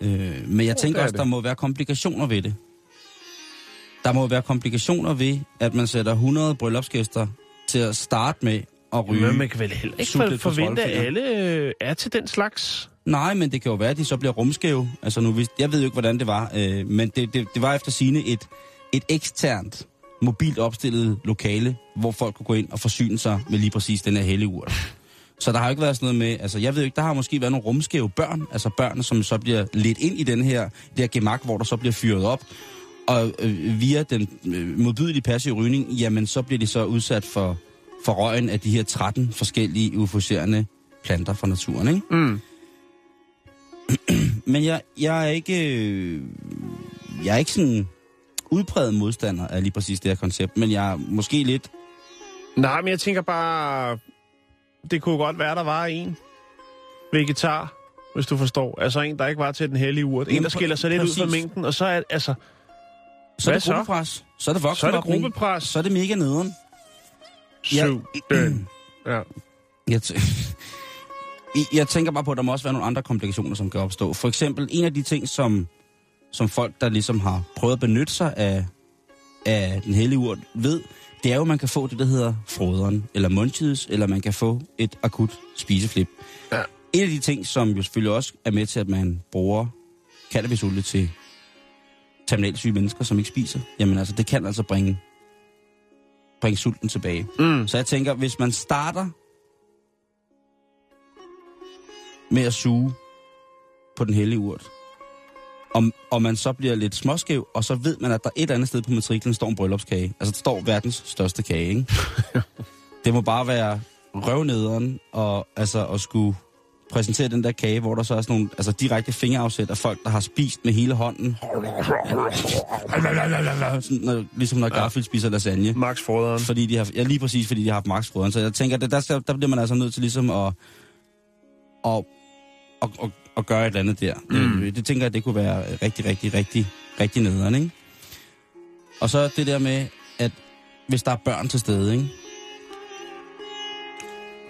D: øh, Men jeg tænker
E: Jo, det er
D: også, der
E: det.
D: må være komplikationer ved det. Der må være komplikationer ved, at man sætter 100 bryllupsgæster til at starte med at ryge.
E: Men man kan vel heller ikke
D: Sut
E: for,
D: lidt på
E: forvente, at
D: troldefinger.
E: alle øh, er til den slags.
D: Nej, men det kan jo være, at de så bliver rumskæve. Altså nu, hvis- jeg ved jo ikke, hvordan det var, øh, men det, det, det var efter sine et, et eksternt, mobilt opstillet lokale, hvor folk kunne gå ind og forsyne sig med lige præcis den her helligurt. Så der har jo ikke været sådan noget med, altså jeg ved jo ikke, der har måske været nogle rumskæve børn, altså børn, som så bliver lidt ind i den her, det her gemak, hvor der så bliver fyret op, og øh, via den øh, modbydelige passive rygning, jamen så bliver de så udsat for, for røgen af de her 13 forskellige euforiserende planter fra naturen, ikke?
E: Mm.
D: Men jeg, jeg er ikke... øh, Jeg er ikke sådan udpræget modstander af lige præcis det her koncept, men jeg er måske lidt...
E: Nej, men jeg tænker bare, det kunne godt være, der var en vegetar, hvis du forstår. Altså en, der ikke var til den hellige urt. En,
D: Jamen,
E: der skiller sig lidt ud fra
D: præcis.
E: mængden. Og så er, altså,
D: Så er
E: Hvad
D: det
E: så?
D: gruppepres, så er det
E: så er det
D: voksenopning,
E: gruppepres.
D: så er det mega nederen. Ja.
E: Syv døgn. Ja.
D: Jeg, t- I- jeg tænker bare på, at der må også være nogle andre komplikationer, som kan opstå. For eksempel en af de ting, som, som folk, der ligesom har prøvet at benytte sig af, af den hellige urt, ved, det er jo, at man kan få det, der hedder froderen, eller munchies, eller man kan få et akut spiseflip.
E: Ja.
D: En af de ting, som jo selvfølgelig også er med til, at man bruger cannabisolie til terminalsyge mennesker, som ikke spiser, jamen altså, det kan altså bringe, bringe sulten tilbage.
E: Mm.
D: Så jeg tænker, hvis man starter med at suge på den hellige urt, og, og man så bliver lidt småskæv, og så ved man, at der et eller andet sted på matriklen står en bryllupskage. Altså, der står verdens største kage, ikke? det må bare være røvnederen, og altså at skulle præsentere den der kage, hvor der så er sådan nogle altså, direkte fingerafsæt af folk, der har spist med hele hånden. Sådan, når, ligesom når Garfield spiser lasagne.
E: Max Froderen.
D: Fordi de har, ja, lige præcis, fordi de har haft max -brødren. Så jeg tænker, der, der, skal- der bliver man altså nødt til ligesom at, at, at, at, at gøre et eller andet der. Mm. Det, det tænker jeg, det kunne være rigtig, rigtig, rigtig, rigtig nederen, ikke? Og så det der med, at hvis der er børn til stede, ikke?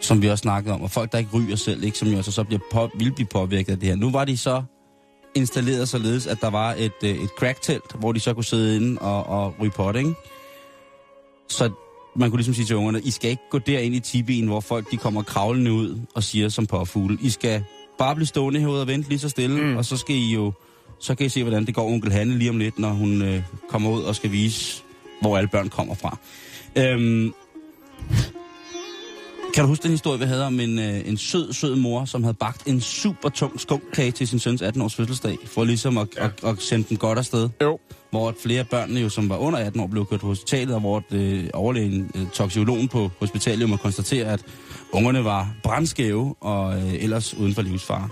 D: Som vi også snakkede om, og folk, der ikke ryger selv, ikke? Som jo altså så bliver på, vil blive påvirket af det her. Nu var de så installeret således, at der var et, øh, et crack-telt, hvor de så kunne sidde inde og, og ryge pot, ikke? Så man kunne ligesom sige til ungerne, I skal ikke gå derind i tibien, hvor folk de kommer kravlende ud og siger som påfugle. I skal bare blive stående herude og vente lige så stille, mm. og så skal I jo så kan I se, hvordan det går onkel Hanne lige om lidt, når hun øh, kommer ud og skal vise, hvor alle børn kommer fra. Øhm, kan du huske den historie, vi havde om en, øh, en sød, sød mor, som havde bagt en super tung skumkage til sin søns 18-års fødselsdag, for ligesom at, ja. at, at sende den godt afsted?
E: Jo.
D: hvor at flere af børnene, jo, som var under 18 år, blev kørt på hospitalet, og hvor øh, overlægen, øh, toksikologen på hospitalet, jo må konstatere, at ungerne var brandskæve og øh, ellers uden for livsfare.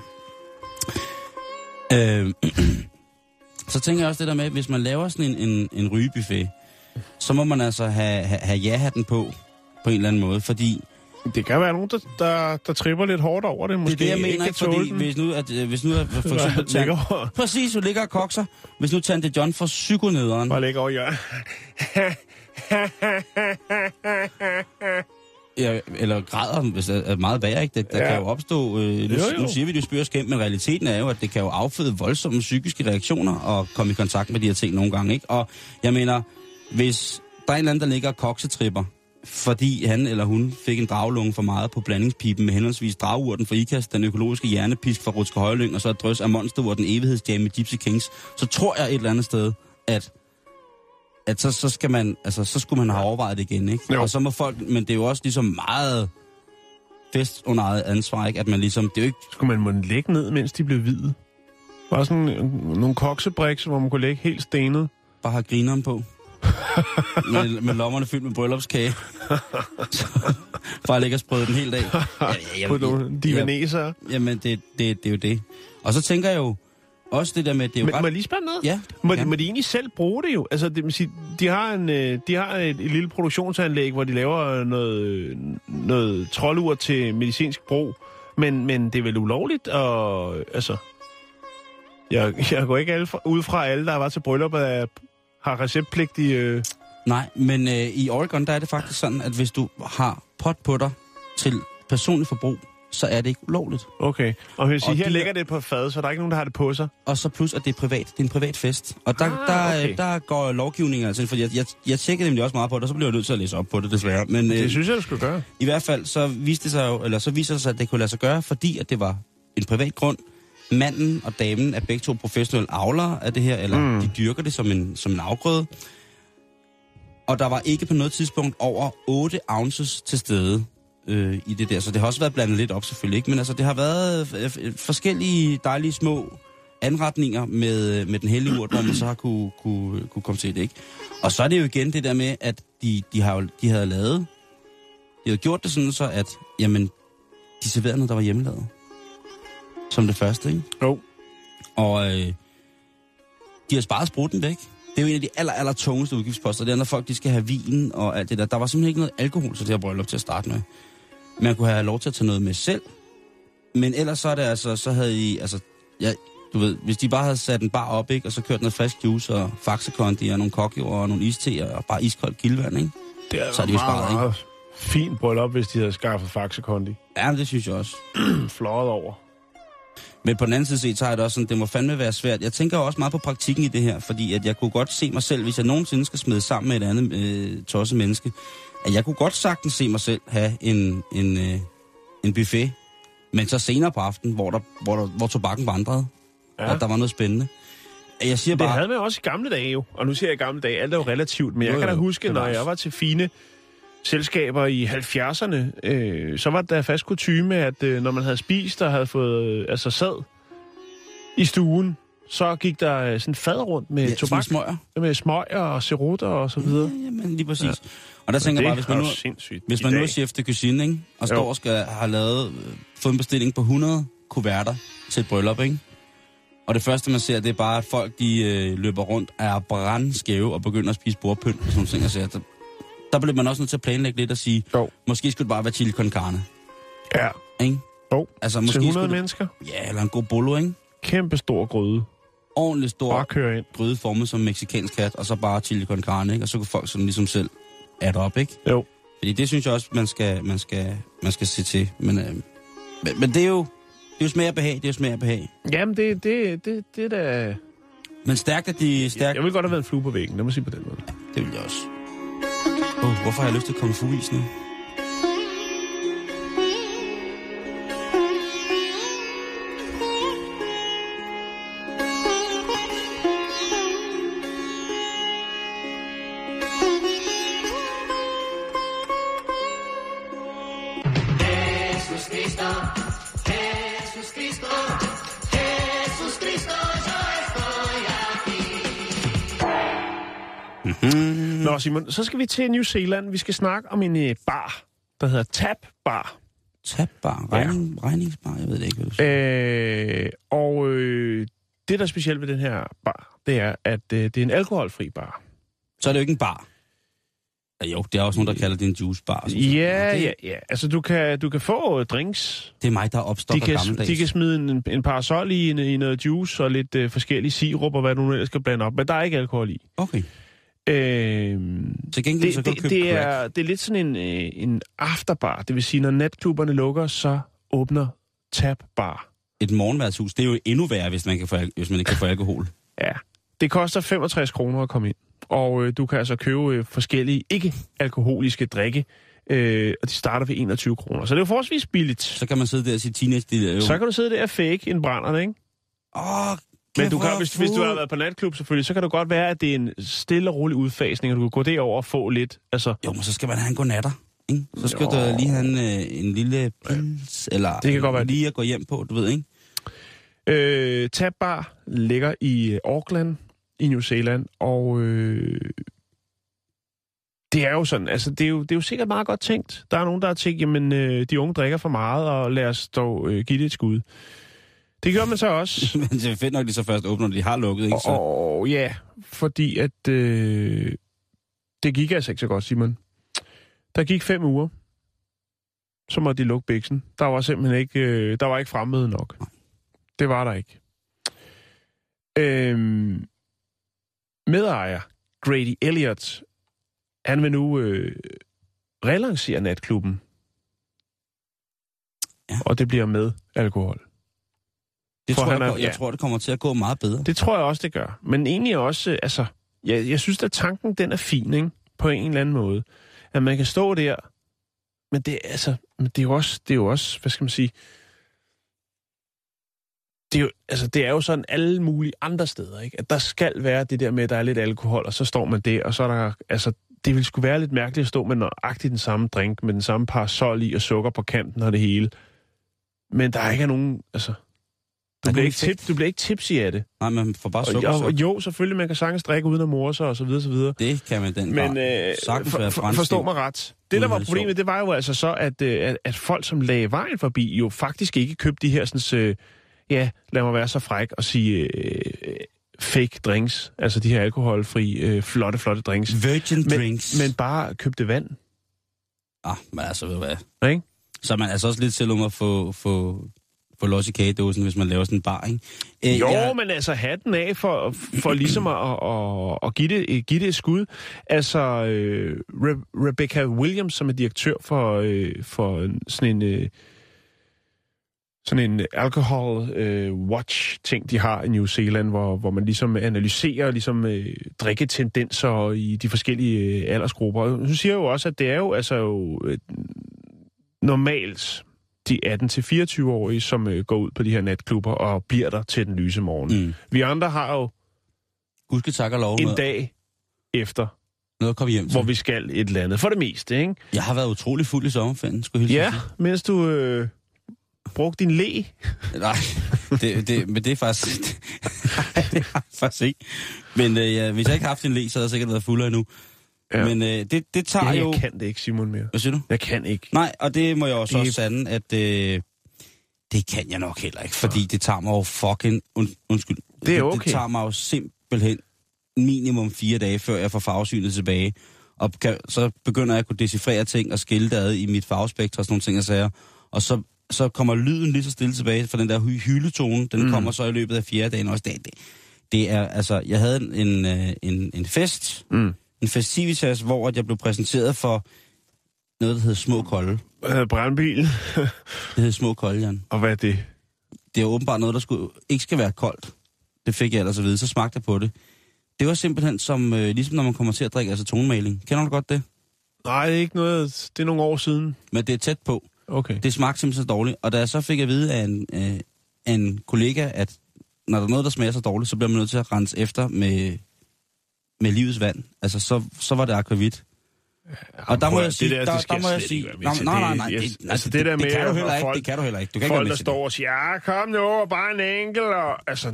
D: Øh, så tænker jeg også det der med, at hvis man laver sådan en, en, en rygebuffet, så må man altså have, have, have ja-hatten på, på en eller anden måde, fordi
E: Det kan være nogen, der, der, der tripper lidt hårdt over det. Måske
D: det er det, jeg mener,
E: ikke kan
D: ikke,
E: tåle
D: fordi
E: den.
D: hvis nu, at, øh, hvis nu at for eksempel...
E: ligger over-
D: Præcis, du ligger og kokser. Hvis nu Tante John får psykonederen,
E: Bare ligge over i hjørnet.
D: Ja, eller græder, hvis det er meget værre, ikke? Det, der ja.
E: Ja.
D: kan jo opstå... Øh, nu, jo,
E: Jo,
D: jo.
E: jo.
D: nu siger vi, det spyrer skæmt, men realiteten er jo, at det kan jo afføde voldsomme psykiske reaktioner og komme i kontakt med de her ting nogle gange, ikke? Og jeg mener, hvis der er en eller anden, der ligger og koksetripper, fordi han eller hun fik en draglunge for meget på blandingspipen med henholdsvis dragurten fra Ikast, den økologiske hjernepisk fra Rutsker Højlyng, og så et drøs af monsterurten evighedsjam med Gypsy Kings, så tror jeg et eller andet sted, at at så, så, skal man, altså, så skulle man have overvejet det igen, ikke?
E: Jo.
D: Og så må folk, men det er jo også ligesom meget fest under eget ansvar, ikke? At man ligesom, det er jo ikke,
E: Skulle man måtte lægge ned, mens de blev hvide? Bare sådan øh, nogle koksebrikser, hvor man kunne lægge helt stenet.
D: bare har grineren på. med, med lommerne fyldt med bryllupskage. Så bare ligge og sprøde den helt af. Ja, ja, jeg-
E: På nogle divaneser.
D: Jamen, det, det, det er jo det. Og så tænker jeg jo også det der med, at det er jo
E: Men må jeg
D: ret...
E: lige spørge noget?
D: Ja,
E: Må,
D: ja.
E: de, må de egentlig selv bruge det jo? Altså, det vil sige, de har, en, øh, de har et, et lille produktionsanlæg, hvor de laver noget, øh, noget troldur til medicinsk brug, men, men det er vel ulovligt, og øh, altså... Jeg, jeg går ikke alle fra, ud fra at alle, der var til brylluppet, er, har receptpligtige... Øh,
D: Nej, men øh, i Oregon, der er det faktisk sådan, at hvis du har pot på dig til personlig forbrug, så er det ikke ulovligt.
E: Okay. Og hvis I
D: Og
E: her
D: de-
E: ligger det på et fad, så er der ikke nogen, der har det på sig.
D: Og så plus, at det er privat. Det er en privat fest. Og der, ah, der,
E: okay.
D: okay. der går lovgivningen altså, ind, fordi jeg, jeg, jeg tjekkede nemlig også meget på det, og så blev jeg nødt til at læse op på det, desværre. Men øh,
E: Det synes jeg, du skulle gøre.
D: i hvert fald, så viste det sig jo, eller så viste det sig, at det kunne lade sig gøre, fordi at det var en privat grund. Manden og damen er begge to professionelle avlere af det her, eller mm. de dyrker det som en, som en afgrøde. Og der var ikke på noget tidspunkt over 8 ounces til stede øh, i det der. Så det har også været blandet lidt op selvfølgelig, ikke? Men altså, det har været øh, f- øh, forskellige dejlige små anretninger med, øh, med den hellige urt, hvor man så har kunne, kunne, kunne komme til det, ikke? Og så er det jo igen det der med, at de, de, har, jo- de havde lavet, de havde gjort det sådan så, at jamen, de serverede noget, der var hjemmelavet. Som det første, ikke?
E: Jo.
D: Og øh, de har sparet spruten væk. Det er jo en af de aller, aller tungeste udgiftsposter. Det er, når folk de skal have vin og alt det der. Der var simpelthen ikke noget alkohol til det her bryllup til at starte med. Man kunne have lov til at tage noget med selv. Men ellers så er det altså, så havde I, altså, ja, du ved, hvis de bare havde sat en bar op, ikke, og så kørt noget frisk juice og faxekondi og nogle kokkever og nogle iste og bare iskoldt kildvand, ikke?
E: Det
D: Så er de jo sparet, ikke?
E: fint bryllup, hvis de havde skaffet faxekondi.
D: Ja, men det synes jeg også.
E: Fløjet over.
D: Men på den anden side set, så er det også sådan, det må fandme være svært. Jeg tænker jo også meget på praktikken i det her, fordi at jeg kunne godt se mig selv, hvis jeg nogensinde skal smide sammen med et andet øh, tosset menneske, at jeg kunne godt sagtens se mig selv have en, en, øh, en buffet, men så senere på aftenen, hvor, der, hvor, der, hvor tobakken vandrede, ja.
E: Ja.
D: og der var noget spændende. Jeg siger
E: Det
D: bare,
E: havde man også i gamle dage jo. Og nu siger jeg i gamle dage, alt er jo relativt. Men jeg
D: Jo,
E: kan da
D: jo,
E: huske,
D: det var
E: når
D: også-
E: jeg var til fine selskaber i 70'erne, øh, så var der fast kutume, at øh, når man havde spist og havde fået øh, altså sad i stuen, så gik der øh, sådan en fad rundt med ja,
D: ja,
E: tobak,
D: tobak. smøger.
E: med smøger og cerutter og så videre.
D: Ja, men lige præcis. Ja. Og der tænker jeg bare, hvis man nu,
E: sindssygt.
D: hvis
E: i
D: man nu er
E: dag.
D: chef de cuisine, ikke, og står
E: Jo.
D: og skal have lavet, øh, fået en bestilling på 100 kuverter til et bryllup, ikke? Og det første, man ser, det er bare, at folk de, øh, løber rundt, er brandskæve og begynder at spise bordpynt og sådan nogle ting. Og sager. der, der bliver man også nødt til at planlægge lidt og sige,
E: Jo.
D: måske skulle det bare være chili con carne,
E: Ja,
D: ikke?
E: jo.
D: Altså,
E: Til
D: måske
E: 100
D: skulle det,
E: mennesker.
D: ja, eller en god bolo, ikke?
E: Kæmpe stor gryde.
D: Ordentlig stor
E: Bare køre ind.
D: gryde formet som meksikansk kat, og så bare chili con carne, ikke? Og så kunne folk sådan ligesom selv adde op, ikke?
E: Jo.
D: Fordi det synes jeg også, man skal, man skal, man skal se til. Men, øh, men, men det er jo, det er jo smag og behag, det er jo smag og behag.
E: Jamen, det, det, det, det er da...
D: Men stærkt er de stærkt,
E: Jeg vil godt have været en flue på væggen, lad mig sige på den måde.
D: det vil jeg også. Oh, hvorfor har jeg lyst til kung fu is nu? Mm.
E: Nå, Simon, så skal vi til New Zealand. Vi skal snakke om en øh, bar, der hedder Tap Bar.
D: Tabbar, regning, ja. regningsbar, jeg ved det ikke. Hvad du siger.
E: Øh, og øh, det, der er specielt ved den her bar, det er, at øh, det er en alkoholfri bar.
D: Så er det jo ikke en bar. Ja, jo, det er også nogen, der kalder det en juicebar. og sådan noget.
E: Ja,
D: Men
E: ja,
D: det,
E: ja. Altså, du kan, du kan få øh, drinks.
D: det er mig, der
E: De
D: opstopper
E: kan,
D: gammeldags.
E: de kan smide en, en parasol i, en, i noget juice og lidt øh, forskellige sirup og hvad du nu ellers skal blande op. Men der er ikke alkohol i.
D: Okay.
E: Øh,
D: Til gengæld så kan
E: det,
D: du
E: det,
D: købe
E: det,
D: crack.
E: er, det er lidt sådan en, øh, en afterbar. Det vil sige, når natklubberne lukker, så åbner Tap Bar.
D: Et morgenværtshus, det er jo endnu værre, hvis man, kan få, al- hvis man ikke kan få alkohol.
E: Ja. Det koster 65 kroner at komme ind. Og øh, du kan altså købe øh, forskellige ikke-alkoholiske drikke, øh, og de starter ved 21 kroner. Så det er jo forholdsvis billigt. Så,
D: Så kan man sidde der og sige teenage, det er jo...
E: så kan du sidde der og fake en brænderne, ikke?
D: Åh,
E: Men
D: kæft,
E: du kan,
D: hvor
E: hvis, hvis du har
D: fuld.
E: været på natklub selvfølgelig, så kan det godt være, at det er en stille og rolig udfasning, og du kan gå derover og få lidt. Altså,
D: Jo, men så skal man have en godnatter. Ikke? Så skal jo. du lige have en, øh, en lille pils, eller
E: Det kan godt være.
D: lige at gå hjem på, du ved, ikke?
E: Øh, Tab Bar ligger i øh, Auckland i New Zealand, og øh, det er jo sådan, altså det er jo, det er jo sikkert meget godt tænkt. Der er nogen, der har tænkt, jamen øh, de unge drikker for meget, og lad os dog øh, give det et skud. Det gør man så også,
D: Men det er fedt nok, at de så først åbner, når de har lukket, ikke? Så,
E: og, og ja, fordi at øh, det gik altså ikke så godt, Simon. Der gik fem uger, så måtte de lukke biksen. Der var simpelthen ikke, øh, der var ikke fremmede nok. Det var der ikke. Øhm, medejer Grady Elliot, han vil nu øh, relancere natklubben.
D: Ja.
E: og det bliver med alkohol.
D: Det
E: Tror
D: tror,
E: han
D: jeg,
E: er-
D: ko- jeg
E: ja.
D: tror, det kommer til at gå meget bedre.
E: Det tror jeg også, det gør. Men egentlig også, øh, altså, jeg, jeg synes, at tanken den er fin, ikke? På en eller anden måde. At man kan stå der, men det, er altså, men det, er, jo også, det er jo også, hvad skal man sige, det er, jo, altså, det er jo sådan alle mulige andre steder, ikke? At der skal være det der med, at der er lidt alkohol, og så står man der, og så er der, altså, det ville skulle være lidt mærkeligt at stå med nøjagtigt den samme drink, med den samme parasol i og sukker på kanten og det hele. Men der er ikke nogen, altså...
D: er
E: Du bliver,
D: nogen
E: ikke tip,
D: effekt.
E: du bliver ikke tipsy af det.
D: Nej, man får bare
E: Og,
D: sukker.
E: og, og
D: sukker.
E: jo, selvfølgelig, man kan sagtens drikke uden at morse sig og så videre, så videre.
D: Det kan man den
E: Men
D: grad
E: øh,
D: sagtens
E: for,
D: være
E: for,
D: fransk.
E: forstå mig ret. Det, der var
D: Udenrigs-
E: problemet, det var jo altså så, at, øh, at, at folk, som lagde vejen forbi, jo faktisk ikke købte de her, sådan, øh, ja, lad mig være så fræk og sige, øh, øh, fake drinks. Altså de her alkoholfri, øh, flotte, flotte drinks.
D: Virgin
E: Men,
D: drinks.
E: men bare købte vand.
D: Ah, men altså, ved du hvad?
E: Ikke?
D: Så er man altså også lidt selv om at få, få, få los i kagedåsen, hvis man laver sådan en bar, ikke? Øh,
E: Jo,
D: jeg,
E: men altså hatten af for, for ligesom at, at, at give, det, give det et skud. Altså, øh, Re- Rebecca Williams, som er direktør for, øh, for en- sådan en... Øh, sådan en alcohol øh, watch ting de har i New Zealand hvor hvor man ligesom analyserer ligesom øh, drikketendenser i de forskellige øh, aldersgrupper. Og Hun siger jo også at det er jo altså jo øh, normalt de 18-24-årige, som øh, går ud på de her natklubber og bliver der til den lyse morgen. Mm.
D: mm,
E: Vi andre har jo
D: Gud skal takke og lov
E: en
D: med
E: dag efter,
D: noget at komme hjem til.
E: hvor vi skal et eller andet. For det meste, ikke?
D: Jeg har været utrolig fuld i sommerferien, skulle jeg hilse
E: Ja,
D: at
E: mens du øh, brugte din læ.
D: sige. Nej, det, det, men det er faktisk... det har jeg faktisk ikke. Men øh, ja, hvis jeg ikke havde haft en læ, så havde jeg sikkert været fuldere endnu. Ja.
E: Ja.
D: Men øh, det, det tager
E: Ja,
D: jo...
E: jeg kan det ikke, Simon, mere.
D: Hvad siger du?
E: Jeg kan ikke.
D: Nej, og det må jeg også,
E: Det-
D: også sande, at øh, det kan jeg nok heller ikke, fordi det tager mig jo fucking... Und, undskyld.
E: Det er
D: Det, det
E: okay.
D: tager mig jo simpelthen minimum fire dage, før jeg får farvesynet tilbage. Og kan, så begynder jeg at kunne decifrere ting og skille det ad i mit farvespektrum og sådan nogle ting, jeg sager. Og så, så kommer lyden lige så stille tilbage, for den der hy- hyletone, den mm. kommer så i løbet af fjerde dagen også. Det, det, det er, altså, jeg havde en, en, øh, en, en fest,
E: Mm.
D: en festivitas, hvor at jeg blev præsenteret for noget, der hedder Små Kolde.
E: Øh, brandbil.
D: Det hed små kolde, Jan.
E: og hvad er det?
D: Det er åbenbart noget, der skulle, ikke skal være koldt. Det fik jeg ellers at vide, så smagte jeg på det. Det var simpelthen som, øh, ligesom når man kommer til at drikke acetonmaling. Kender du godt det?
E: Nej, det er ikke noget... Det er nogle år siden.
D: Men det er tæt på.
E: Okay.
D: Det smagte simpelthen så dårligt. Og da jeg så fik at vide af en, øh, af en kollega, at når der er noget, der smager så dårligt, så bliver man nødt til at rense efter med, med livets vand. Altså, så, så var det akvavit. Og der må
E: prøv at-
D: jeg sige,
E: det der,
D: der,
E: det skal
D: der, må
E: jeg
D: jeg
E: slet
D: sige,
E: ikke være med
D: nej,
E: til.
D: nej, nej,
E: Det-
D: nej,
E: jeg-
D: det, nej,
E: altså,
D: det,
E: det der
D: det, det
E: med,
D: kan du
E: at
D: heller ikke,
E: folk-
D: det kan du heller ikke. Du kan ikke være
E: Folk,
D: med
E: der
D: til det.
E: står og siger, ja, kom nu, og bare en enkelt. Og, altså,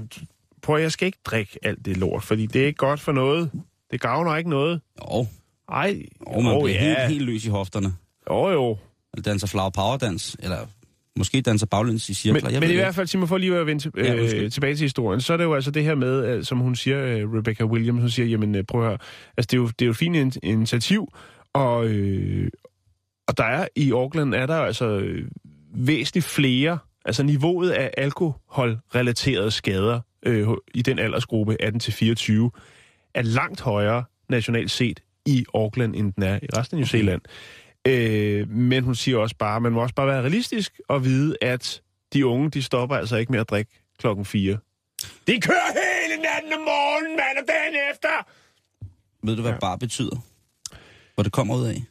E: prøv, jeg skal ikke drikke alt det lort, fordi det er ikke godt for noget. Det gavner ikke noget.
D: Jo,
E: Ej,
D: jo man
E: jo,
D: bliver
E: ja.
D: helt, helt løs i hofterne.
E: Jo, jo.
D: Eller danser flower power dans, eller måske danser baglæns i cirkler.
E: Men,
D: jeg
E: men
D: ved
E: i
D: det
E: hvert fald, Simon, for lige at vende til,
D: Ja,
E: øh,
D: undskyld.
E: tilbage til historien, så er det jo altså det her med, øh, som hun siger, øh, Rebecca Williams, hun siger, jamen øh, prøv at høre, altså det er jo, det er jo et fint in- initiativ, og, øh, og der er i Auckland, er der altså øh, væsentligt flere, altså niveauet af alkoholrelaterede skader øh, i den aldersgruppe 18-24, er langt højere nationalt set i Auckland, end den er i resten af New Zealand. Øh, men hun siger også bare, man må også bare være realistisk og vide, at de unge, de stopper altså ikke med at drikke klokken 4. De kører hele natten om morgenen, mand, og dagen efter!
D: Ved du, hvad ja. bar betyder? Hvor det kommer ud af?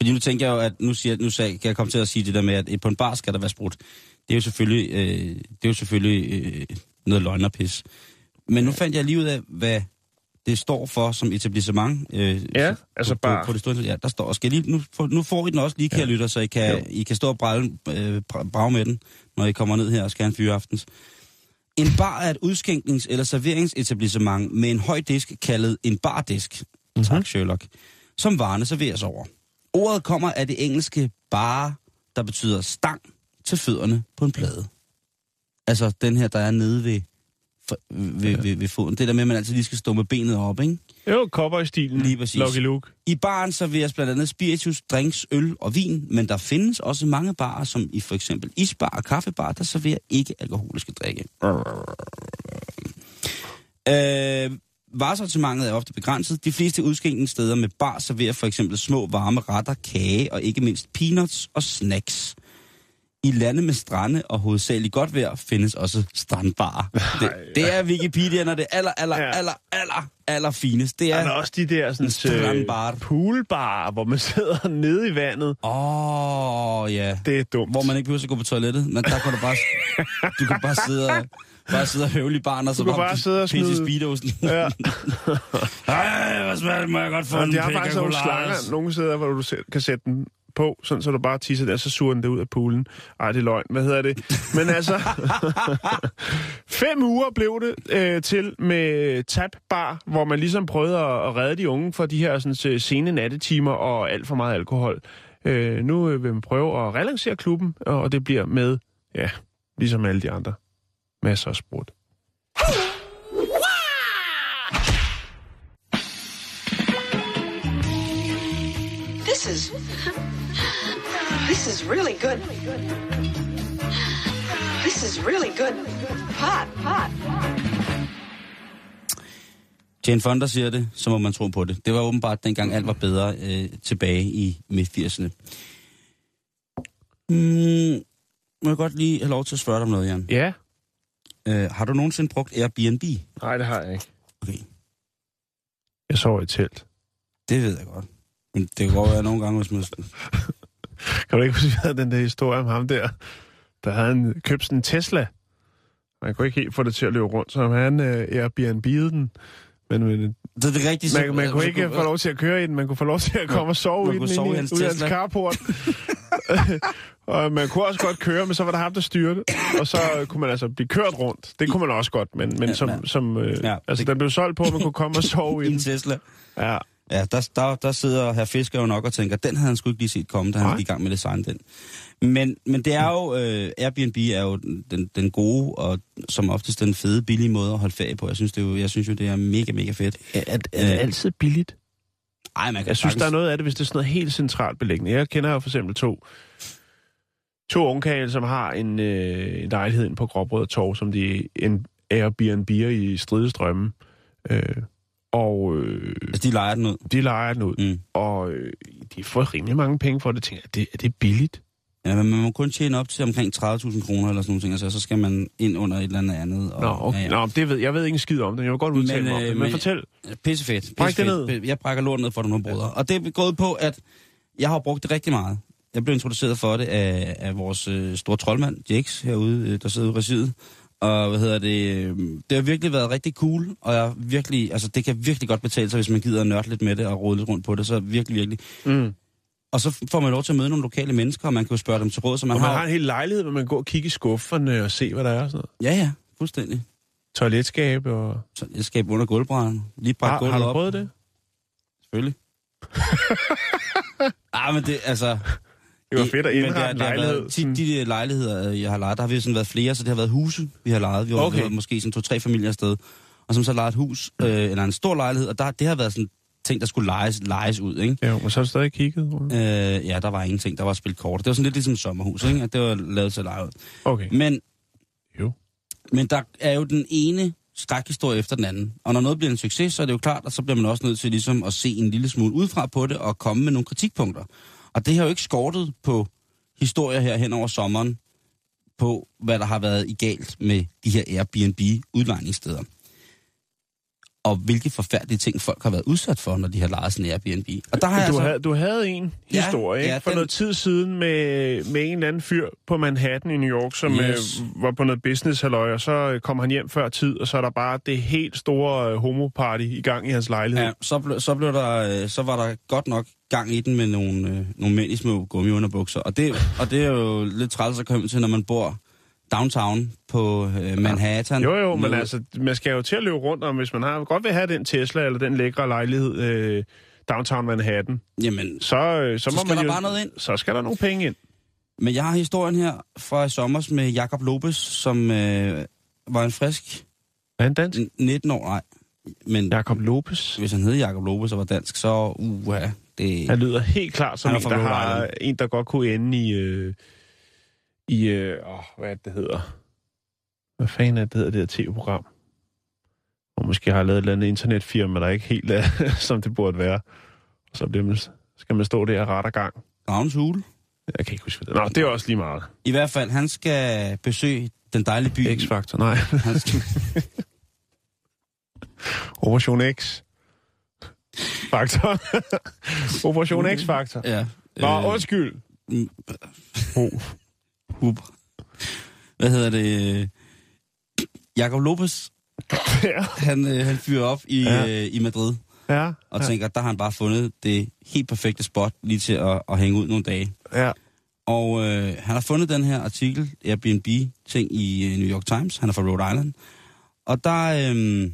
D: Fordi nu tænker jeg jo, at nu, siger, nu sag, kan jeg komme til at sige det der med, at på en bar skal der være sprudt. Det er jo selvfølgelig, øh, det er jo selvfølgelig øh, noget løgn og pis. Men nu fandt jeg lige ud af, hvad det står for som etablissement. Øh,
E: Ja,
D: på-
E: altså
D: på,
E: bar.
D: På det store, ja, der står. Skal jeg lige, nu, får- nu får I den også lige, kære ja. lytter, så I kan, I kan stå og brage, øh, bra- brage med den, når I kommer ned her og skal have en fyreaftens. En bar er et udskænknings- eller serveringsetablissement med en høj disk kaldet en bardisk. Mm-hmm. Tak, Sherlock. Som varerne serveres over. Ordet kommer af det engelske bare, der betyder stang til fødderne på en plade. Altså den her, der er nede ved, for- ved, ved, ved foden. Det der med, at man altid lige skal stå med benet op, ikke?
E: Jo, kopper i stilen.
D: Lige præcis.
E: Lucky Luke.
D: I baren serveres blandt andet spiritus, drinks, øl og vin, men der findes også mange barer, som i for eksempel isbar og kaffebar, der serverer ikke alkoholiske drikke. Øh, varesortimentet er ofte begrænset. De fleste udskænkningssteder med bar serverer for eksempel små varme retter, kage og ikke mindst peanuts og snacks. I lande med strande og hovedsageligt godt vejr findes også strandbarer. Det, det er Wikipedia'erne det aller, aller,
E: Ja.
D: aller, aller, aller finest. Det
E: Ja. Er der
D: er...
E: også de der sådan,
D: En strandbar.
E: øh, poolbar, hvor man sidder nede i vandet?
D: Åh, oh, ja.
E: Det er dumt.
D: Hvor man ikke behøver at gå på toilettet, men der kan du bare... Du kan bare sidde og... Bare sidde og høvle i barn, og så
E: kan bare sidde og
D: pisse i
E: smide-
D: speedosen.
E: Ja.
D: Ej, hvor smager det, må jeg godt få
E: Og
D: en
E: de har
D: pina
E: faktisk nogle
D: colada.
E: slanger nogle steder, hvor du selv kan sætte den på, sådan så du bare tisser der, så suger den det ud af poolen. Ej, det er løgn. Hvad hedder det? Men altså, fem uger blev det øh, til med tapbar, hvor man ligesom prøvede at, at redde de unge fra de her sådan, så sene nattetimer og alt for meget alkohol. Øh, nu øh, vil man prøve at relancere klubben, og det bliver med, ja, ligesom alle de andre, masser af sprut.
F: This is. This is really good. This is really good. Pot, pot.
D: Jane Fonda siger det, så må man tro på det. Det var åbenbart dengang alt var bedre øh, tilbage i midt-80'erne. Mm, må jeg godt lige have lov til at spørge dig om noget, Jan?
E: Ja.
D: Øh, har du nogensinde brugt Airbnb?
E: Nej, det har jeg ikke.
D: Okay,
E: Jeg sover i et telt.
D: det ved jeg godt. Men det kan godt være nogle gange, hvis man...
E: Kan du ikke huske, vi havde den der historie om ham der, der havde en, købt sådan en Tesla? Og han kunne ikke helt få det til at løbe rundt, så han øh, Airbnb'ede den. Men, men
D: Det er det rigtige...
E: man, man kunne ikke få lov til at køre i den, man kunne få lov til at komme og
D: man
E: sove i den
D: kunne
E: inde
D: sove i
E: i
D: hans
E: ud af hans
D: Tesla.
E: carport. og man kunne også godt køre, men så var der ham, der styrte. Og så kunne man altså blive kørt rundt. Det kunne man også godt, men, men
D: Ja,
E: ja, som,
D: men-
E: som øh,
D: Ja,
E: ja, altså,
D: det-
E: den blev solgt på, at man kunne komme og sove i
D: en
E: den.
D: Tesla.
E: Ja.
D: Ja, der, der, der sidder herr Fisker jo nok og tænker, den havde han sgu ikke lige set komme, da han
E: Nej.
D: gik i gang med at designe den. Men, men det er jo, øh, Airbnb er jo den- den, den gode og som oftest den fede, billige måde at holde ferie på. Jeg synes, det er jo, jeg synes jo, det er mega, mega fedt.
E: Er,
D: er det
E: altid billigt?
D: Ej, man kan
E: Jeg synes,
D: sagtens-
E: der er noget af det, hvis det er sådan noget helt centralt beliggende. Jeg kender jo for eksempel to, to ungkagel, som har en, øh, en lejlighed inde på Gråbrød Torv, som de en Airbnb'er i stridestrømme. Øh, og øh,
D: Altså, de leger den ud.
E: de leger den ud,
D: Mm.
E: og øh, de får rimelig mange penge for det. Jeg tænker, er det, er det billigt?
D: Ja, men man må kun tjene op til omkring 30.000 kroner eller sådan nogle ting, og så, så skal man ind under et eller andet andet. Og,
E: Nå, okay.
D: ja, ja.
E: Nå det ved, jeg ved ikke en skid om det. Jeg vil godt udtale
D: Men,
E: mig om
D: øh,
E: det. Men,
D: men-
E: fortæl.
D: Pissefedt.
E: Bræk det
D: pissefedt. Jeg brækker lort ned for dig nu, bruder. Og det er gået på, at jeg har brugt det rigtig meget. Jeg blev introduceret for det af, af vores øh, store troldmand, Jakes, herude, øh, der sidder ude i regiet. Og hvad hedder det, øh, det har virkelig været rigtig cool, og jeg har virkelig, altså det kan virkelig godt betale sig, hvis man gider at nørde lidt med det og rode lidt rundt på det, så virkelig, virkelig.
E: Mm.
D: Og så får man lov til at møde nogle lokale mennesker, og man kan jo spørge dem til råd, så man,
E: Og man
D: har...
E: har en hel lejlighed, hvor man går og kigger i skufferne og se, hvad der er. og Sådan noget.
D: Ja, ja, fuldstændig.
E: Toiletskabe og...
D: Så jeg skal under gulvbrænden. Lige bare
E: Har,
D: gulvet
E: har
D: op.
E: du prøvet det?
D: Selvfølgelig. ah, men det, altså...
E: Det var fedt at
D: men det
E: indrette
D: har-
E: en
D: det har
E: lejlighed.
D: Været,
E: sådan.
D: tit, de der lejligheder, øh, jeg har lejet, der har vi sådan været flere, så det har været huse, vi har lejet. Vi har
E: Okay.
D: okay. måske sådan to-tre familier afsted. Og som så lejet et hus, øh, eller en stor lejlighed, og der, det har været sådan ting, der skulle lejes, lejes ud, ikke?
E: Jo, men så har du stadig kigget. Rune.
D: Øh, ja, der var ingenting, der var spillet kort. Det var sådan lidt ligesom et sommerhus, ikke? At det var lavet til at lege ud.
E: Okay.
D: Men,
E: Jo.
D: men der er jo den ene skrækhistorie efter den anden. Og når noget bliver en succes, så er det jo klart, at så bliver man også nødt til ligesom at se en lille smule udefra på det og komme med nogle kritikpunkter. Og det har jo ikke skortet på historier her hen over sommeren på, hvad der har været i galt med de her Airbnb-udlejningssteder. Og hvilke forfærdelige ting folk har været udsat for, når de har lejet sådan en Airbnb. Og der har jeg
E: Du,
D: altså...
E: havde, du havde en
D: Ja,
E: historie ja,
D: ja,
E: for
D: den-
E: noget tid siden med, med en eller anden fyr på Manhattan i New York, som
D: Yes.
E: yes. øh, var på noget business halløj, og så øh, kom han hjem før tid, og så er der bare det helt store øh, homoparty i gang i hans lejlighed.
D: Ja, så, ble, så, blev der, øh, så var der godt nok gang i den med nogle, øh, nogle mænd i små gummiunderbukser. Og det, og det er jo lidt træls at komme til, når man bor downtown på øh, Manhattan.
E: Jo, jo, men
D: Med-
E: altså, man skal jo til at løbe rundt, og hvis man har, godt vil have den Tesla eller den lækre lejlighed øh, downtown Manhattan,
D: Jamen,
E: så, øh, så,
D: Så
E: må
D: skal
E: man
D: der
E: jo,
D: bare noget ind.
E: Så skal der nogle penge ind.
D: men jeg har historien her fra i sommer med Jakob Lopes, som øh, var en frisk
E: Er han dansk?
D: 19 år, nej. Men
E: Jakob Lopez.
D: hvis han hed Jakob Lopes og var dansk, så uha, det...
E: Han lyder helt klart som
D: Han er
E: en
D: fra
E: der,
D: Rhode
E: har,
D: Island.
E: en, der godt kunne ende i... Øh, i øh, åh, hvad er det, det hedder? Hvad fanden er det, det hedder, det her tv-program? Og måske har lavet et eller andet internetfirma, der ikke helt er, som det burde være. Og så bliver man, skal man stå der og rette gang.
D: Ravens Hule.
E: Jeg kan ikke huske, hvad det er. Nå, det er også lige meget.
D: I hvert fald, han skal besøge den dejlige by.
E: X-Factor, nej.
D: Han skal...
E: Operation X. Faktor. Operation X-Faktor.
D: Ja. øh,
E: Nå, undskyld. Oh.
D: Uber. Hvad hedder det? Jakob Lopez,
E: Ja.
D: han, øh, han fyrer op i,
E: Ja.
D: ja. øh, i Madrid
E: Ja.
D: og ja. tænker, der har han bare fundet det helt perfekte spot lige til at, at hænge ud nogle dage.
E: ja.
D: Og øh, han har fundet den her artikel, Airbnb-ting i øh, New York Times. Han er fra Rhode Island. Og der, øh,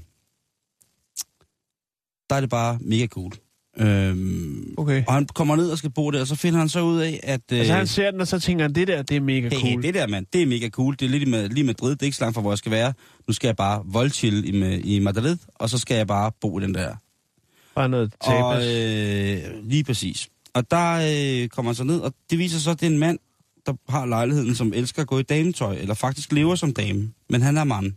D: der er det bare mega cool. Øhm,
E: Okay.
D: og han kommer ned og skal bo der, og så finder han så ud af, at... Øh,
E: Altså, han ser den, og så tænker han, det der, det er mega
D: det,
E: cool.
D: det der, mand, det er mega cool. Det er lidt i Ma- lige Madrid, det er ikke så langt fra, hvor jeg skal være. Nu skal jeg bare voldchille i, Ma- i Madrid, og så skal jeg bare bo i den der
E: Bare noget
D: og
E: tapas.
D: øh, lige præcis. Og der øh, kommer han så ned, og det viser sig, at det er en mand, der har lejligheden, som elsker at gå i dametøj, eller faktisk lever som dame. Men han er mand.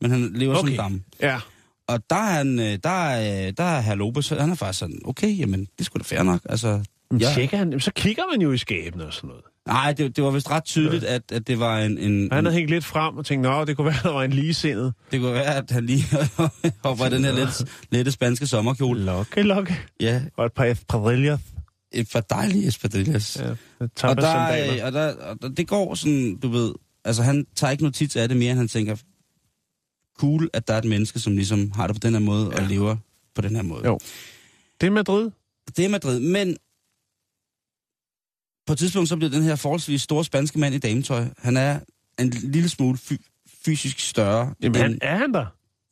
D: Men han lever okay. som dame.
E: Ja.
D: Og der er, han, øh, der er, øh, der er herr Lopez, han er faktisk sådan, okay, jamen, det skulle da fair nok. Altså,
E: Men
D: ja.
E: tjekker han, jamen, så kigger man jo i skabene og sådan noget.
D: Nej, det, det var vist ret tydeligt, at, at det var en... en,
E: Og han
D: en
E: havde hængt lidt frem og tænkt, nå, det kunne være, der var en ligesindet.
D: det kunne være, at han lige hopper i den her lette, lette spanske sommerkjole.
E: Lokke, lokke.
D: Ja,
E: Og et par espadrilles.
D: et par dejlige espadrilles.
E: Ja,
D: og,
E: tapas
D: der, øh,
E: sandaler.
D: og, der, og der, det går sådan, du ved, altså han tager ikke notits af det mere, end han tænker, cool, at der er et menneske, som ligesom har det på den her måde, ja. og lever på den her måde.
E: Jo. Det er Madrid.
D: Det er Madrid, men på et tidspunkt så bliver den her forholdsvis store spanske mand i dametøj, han er en lille smule fy- fysisk større.
E: Jamen,
D: end,
E: han, er han der?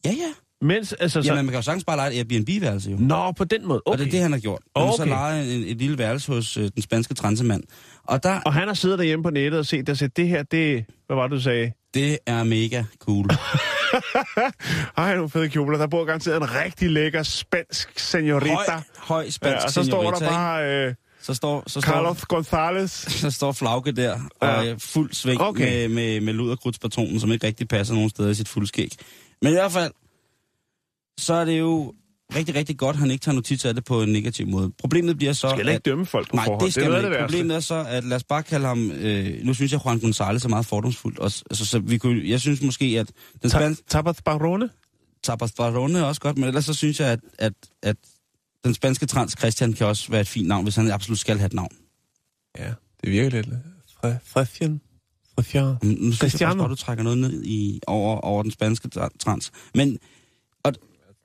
D: Ja, ja.
E: Mens, altså, så...
D: Jamen, man kan jo sagtens bare lege et Airbnb-værelse jo.
E: Nå, på den måde.
D: Okay.
E: Okay.
D: Og det er det, han har gjort. Han okay. så
E: Okay.
D: lejet en, et lille værelse hos øh, den spanske transemand. Og der,
E: Og han har siddet derhjemme på nettet og set, og set det her, det... Hvad var det, du sagde?
D: det er mega cool.
E: Ej, nogle fede kjoler. Der bor garanteret en rigtig lækker spansk senorita.
D: høj, høj spansk
E: ja, og så står der
D: señorita, ikke?
E: bare øh,
D: Så står, så
E: Carlos
D: står,
E: González.
D: så står Flauke der, og
E: Ja.
D: ja. fuld sving
E: Okay.
D: okay. med, med, med luderkrudspatronen, som ikke rigtig passer nogen steder i sit fuldskæg. Men i hvert fald, så er det jo rigtig, rigtig godt, han ikke tager notits af det på en negativ måde. Problemet bliver så...
E: Skal heller ikke dømme folk på
D: Nej,
E: forhånd.
D: det skal
E: er
D: man
E: noget af
D: ikke.
E: værste.
D: Problemet er så, at lad os bare kalde ham... Øh, nu synes jeg, Juan González er meget fordomsfuldt. Også, altså, så vi kunne, jeg synes måske, at den
E: Ta-
D: spanske...
E: Tapas Barone?
D: Tapas Barone er også godt, men ellers så synes jeg, at, at, at den spanske trans Christian kan også være et fint navn, hvis han absolut skal have et navn.
E: Ja, det virker lidt. Christian. Christian.
D: Mm, Nu synes jeg
E: Cristiano.
D: faktisk godt, du trækker noget ned i, over, over den spanske tra- trans. Men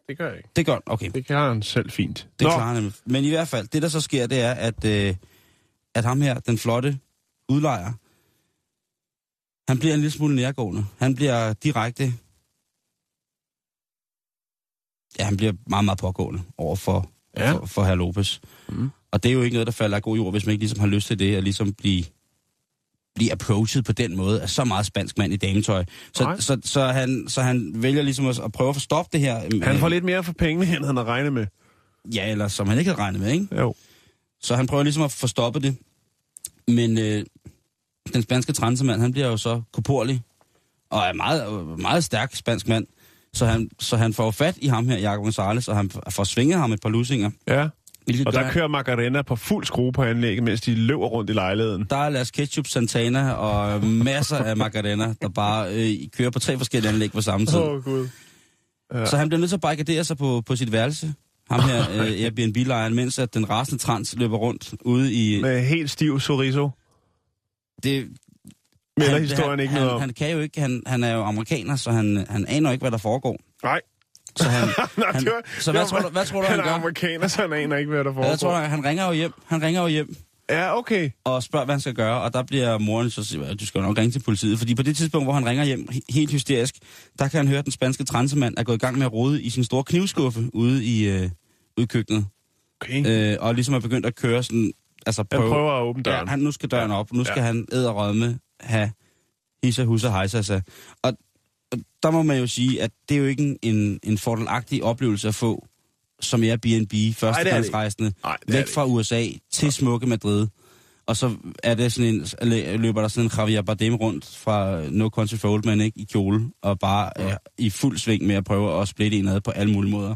E: Det gør jeg ikke.
D: det er godt, okay. Det
E: Det klarer han selv fint.
D: Nå. klarer han. Men i hvert fald, det der så sker, det er, at, øh, at ham her, den flotte udlejer, han bliver en lille smule nærgående. Han bliver direkte... Ja, han bliver meget, meget pågående over for,
E: Ja.
D: ja. for, for herr Lopez.
E: Mm.
D: Mm. Og det er jo ikke noget, der falder af god jord, hvis man ikke ligesom har lyst til det, at ligesom blive, blive approached på den måde af så meget spansk mand i dametøj. Så,
E: Nej.
D: så, så, han, så han vælger ligesom at, at prøve at stoppe det her.
E: Han
D: øh,
E: får lidt mere for pengene, end han har regnet med.
D: Ja, eller som han ikke havde regnet med, ikke?
E: Jo.
D: Så han prøver ligesom at få stoppet det. Men øh, den spanske transemand, han bliver jo så koporlig, og er meget, meget stærk spansk mand. Så han, så han får jo fat i ham her, Jacob Gonzalez, og han får svinget ham et par lusinger.
E: Ja.
D: Hvilket
E: Og
D: gør,
E: der kører Macarena på fuld skrue på anlægget, mens de løber rundt i lejligheden.
D: der er Las Ketchup, Santana og masser af Macarena, der bare øh, kører på tre forskellige anlæg på samme tid.
E: gud.
D: Ja. Så han bliver nødt til at barrikadere sig på, på sit værelse, ham her øh, Airbnb-lejren, mens at den rasende trans løber rundt ude i...
E: Med helt stiv sorriso.
D: Det,
E: Melder historien ikke
D: han,
E: noget om.
D: han, han kan jo ikke, han, han er jo amerikaner, så han, han aner jo ikke, hvad der foregår.
E: Nej.
D: Så, han,
E: Nå,
D: han,
E: det var,
D: så
E: det
D: hvad,
E: var,
D: tror du, hvad tror du,
E: han
D: han,
E: er
D: gør?
E: amerikaner, så han aner ikke, hvad der foregår.
D: Hvad tror du, han, han ringer jo hjem. Han ringer jo hjem
E: Ja, okay.
D: og spørger, hvad han skal gøre, og der bliver moren så siger, du skal jo nok ringe til politiet, fordi på det tidspunkt, hvor han ringer hjem he- helt hysterisk, der kan han høre, at den spanske transemand er gået i gang med at rode i sin store knivskuffe ude i, øh, ude i køkkenet,
E: okay. Øh,
D: øh, og ligesom er begyndt at køre sådan, altså
E: han
D: prøve,
E: prøver at åbne døren.
D: Ja, han, nu skal døren op. Nu skal ja. han æderrømme have hisse, husse, hejse, sig. Og, og der må man jo sige, at det er jo ikke en, en, en fordelagtig oplevelse at få som Airbnb, førstegangsrejsende,
E: Ej, det er
D: væk
E: det
D: fra USA til smukke Madrid. Og så er det sådan en, eller løber der sådan en Javier Bardem rundt fra No Country for Old Men, ikke? I kjole, og bare ja. øh, i fuld sving med at prøve at splitte en ad på alle mulige måder.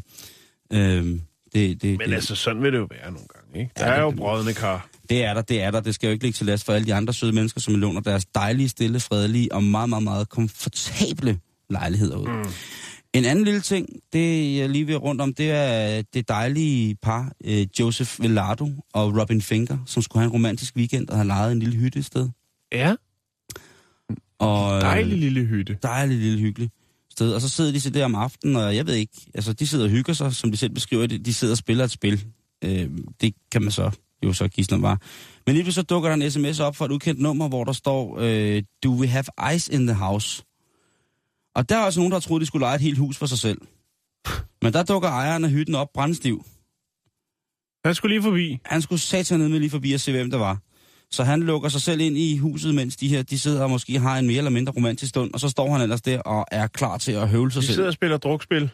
D: Øhm, det, det,
E: Men
D: det,
E: altså, sådan vil det jo være nogle gange, Ikke? Der er jo brødende kar.
D: Det er der, det er der. Det skal jo ikke ligge til last for alle de andre søde mennesker, som låner deres dejlige, stille, fredelige og meget, meget, meget komfortable lejligheder ud. Mm. En anden lille ting, det jeg lige vil rundt om, det er øh, det dejlige par, øh, Joseph Velardo og Robin Finger, som skulle have en romantisk weekend og havde lejet en lille hytte et sted.
E: Ja.
D: Og, øh,
E: Dejlig lille hytte.
D: dejligt lille hyggeligt sted. Og så sidder de så der om aftenen, og jeg ved ikke, altså de sidder og hygger sig, som de selv beskriver det. De sidder og spiller et spil. Øh, det kan man så jo så gidsne var. Men lige pludselig så dukker der en sms op fra et ukendt nummer, hvor der står, øh, do we have ice in the house? Og der er altså nogen, der troede, de skulle leje et helt hus for sig selv. Men der dukker ejeren af hytten op brændstiv.
E: Han skulle lige forbi.
D: Han skulle satan ned med lige forbi og se, hvem der var. Så han lukker sig selv ind i huset, mens de her de sidder og måske har en mere eller mindre romantisk stund, og så står han ellers der og er klar til at høvle sig
E: De
D: selv.
E: sidder og spiller drukspil.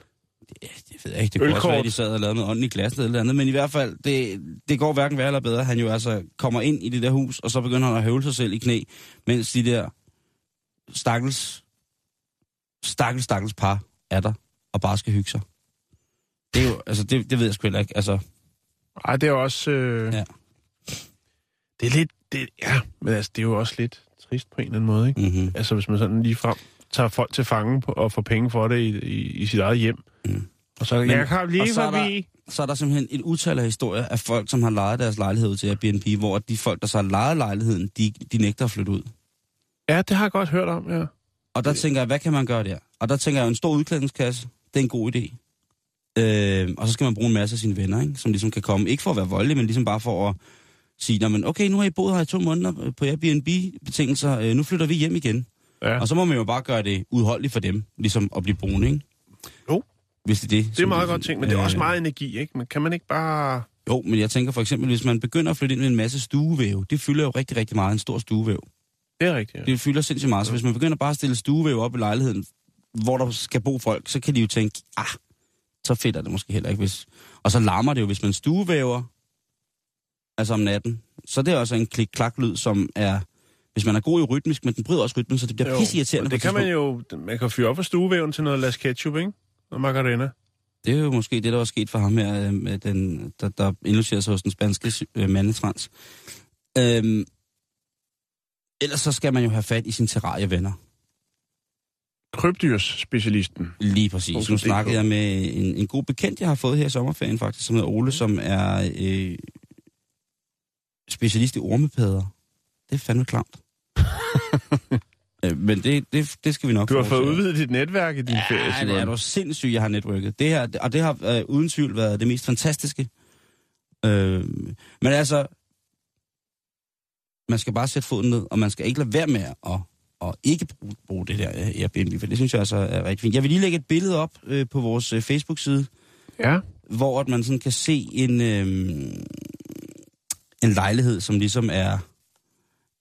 D: Ja, det ved jeg ikke. Det kunne også
E: Ølkort.
D: være, at de sad og lavede noget ånden i glasset eller et eller andet. Men i hvert fald, det, det går hverken værre eller bedre. Han jo altså kommer ind i det der hus, og så begynder han at høvle sig selv i knæ, mens de der stakkels, stakkels, stakkels par er der og bare skal hygge sig. Det, er jo, altså, det, det ved jeg sgu heller ikke. Altså,
E: Ej, det er jo også... Øh...
D: Ja.
E: Det er lidt... Det, ja, men altså, det er jo også lidt trist på en eller anden måde, ikke?
D: mm-hmm.
E: Altså, hvis man sådan lige frem tager folk til fange på, og får penge for det i, i, i sit eget hjem.
D: Mm.
E: Og så,
D: Men-
E: jeg kom
D: og
E: lige
D: så er der-
E: forbi.
D: så er der simpelthen et utal af historier af folk, som har lejet deres lejlighed ud til Airbnb, hvor de folk, der så har lejet lejligheden, de, de nægter at flytte ud.
E: Ja, det har jeg godt hørt om, ja.
D: Og der tænker jeg, hvad kan man gøre der? Og der tænker jeg, en stor udklædningskasse, det er en god idé. Øh, og så skal man bruge en masse af sine venner, ikke? som ligesom kan komme. Ikke for at være voldelig, men ligesom bare for at sige, "Nå, men okay, nu har I boet her i to måneder øh, på Airbnb-betingelser, øh, nu flytter vi hjem igen.
E: ja.
D: Og så må man jo bare gøre det udholdeligt for dem, ligesom at blive brun, ikke?
E: Jo.
D: Hvis det Øh, er det.
E: Det er meget godt ting, men det er også meget energi, ikke? Men kan man ikke bare...
D: Jo, men jeg tænker for eksempel, hvis man begynder at flytte ind med en masse stuevæv, det fylder jo rigtig, rigtig meget, en stor stuevæv.
E: Det er rigtigt, ja.
D: Det fylder sindssygt meget, så hvis man begynder bare at stille stuevæv op i lejligheden, hvor der skal bo folk, så kan de jo tænke, ah, så fedt er det måske heller ikke. Hvis... Og så larmer det jo, hvis man stuevæver, altså om natten. Så det er også en klik-klak-lyd, som er, hvis man er god i rytmisk, men den bryder også rytmen, så det bliver
E: og
D: pisseirriterende.
E: det
D: på
E: kan
D: et
E: man jo... Man kan fyre op for stuevæven til noget las ketchup, ikke? Og margarina.
D: tidspunkt. Det er jo måske det, der var sket for ham her, øh, med den, der, der indlucerer sig hos den spanske sy- øh, mandetrans. Øhm, ellers så skal man jo have fat i sine terrarievenner.
E: Krybdyrsspecialisten.
D: Lige præcis. Nu
E: Punktum DK.
D: snakkede jeg med en, en god bekendt, jeg har fået her i sommerferien faktisk, som hedder Ole, som er øh, specialist i ormepadder. Det er fandme klamt. Øh, Men det, det, det skal vi nok
E: Du har
D: fortsætte.
E: fået udvidet dit netværk i din ferie,
D: Ja, det er du
E: Simon.
D: sindssygt, jeg har netværket. Det her, og det har øh, uden tvivl været det mest fantastiske. Øh, men altså, man skal bare sætte foden ned, og man skal ikke lade være med at, at ikke bruge, bruge det der øh, Airbnb, for det synes jeg altså er rigtig fint. Jeg vil lige lægge et billede op øh, på vores øh, Facebook-side,
E: Ja.
D: hvor at man sådan kan se en, øh, en lejlighed, som ligesom er,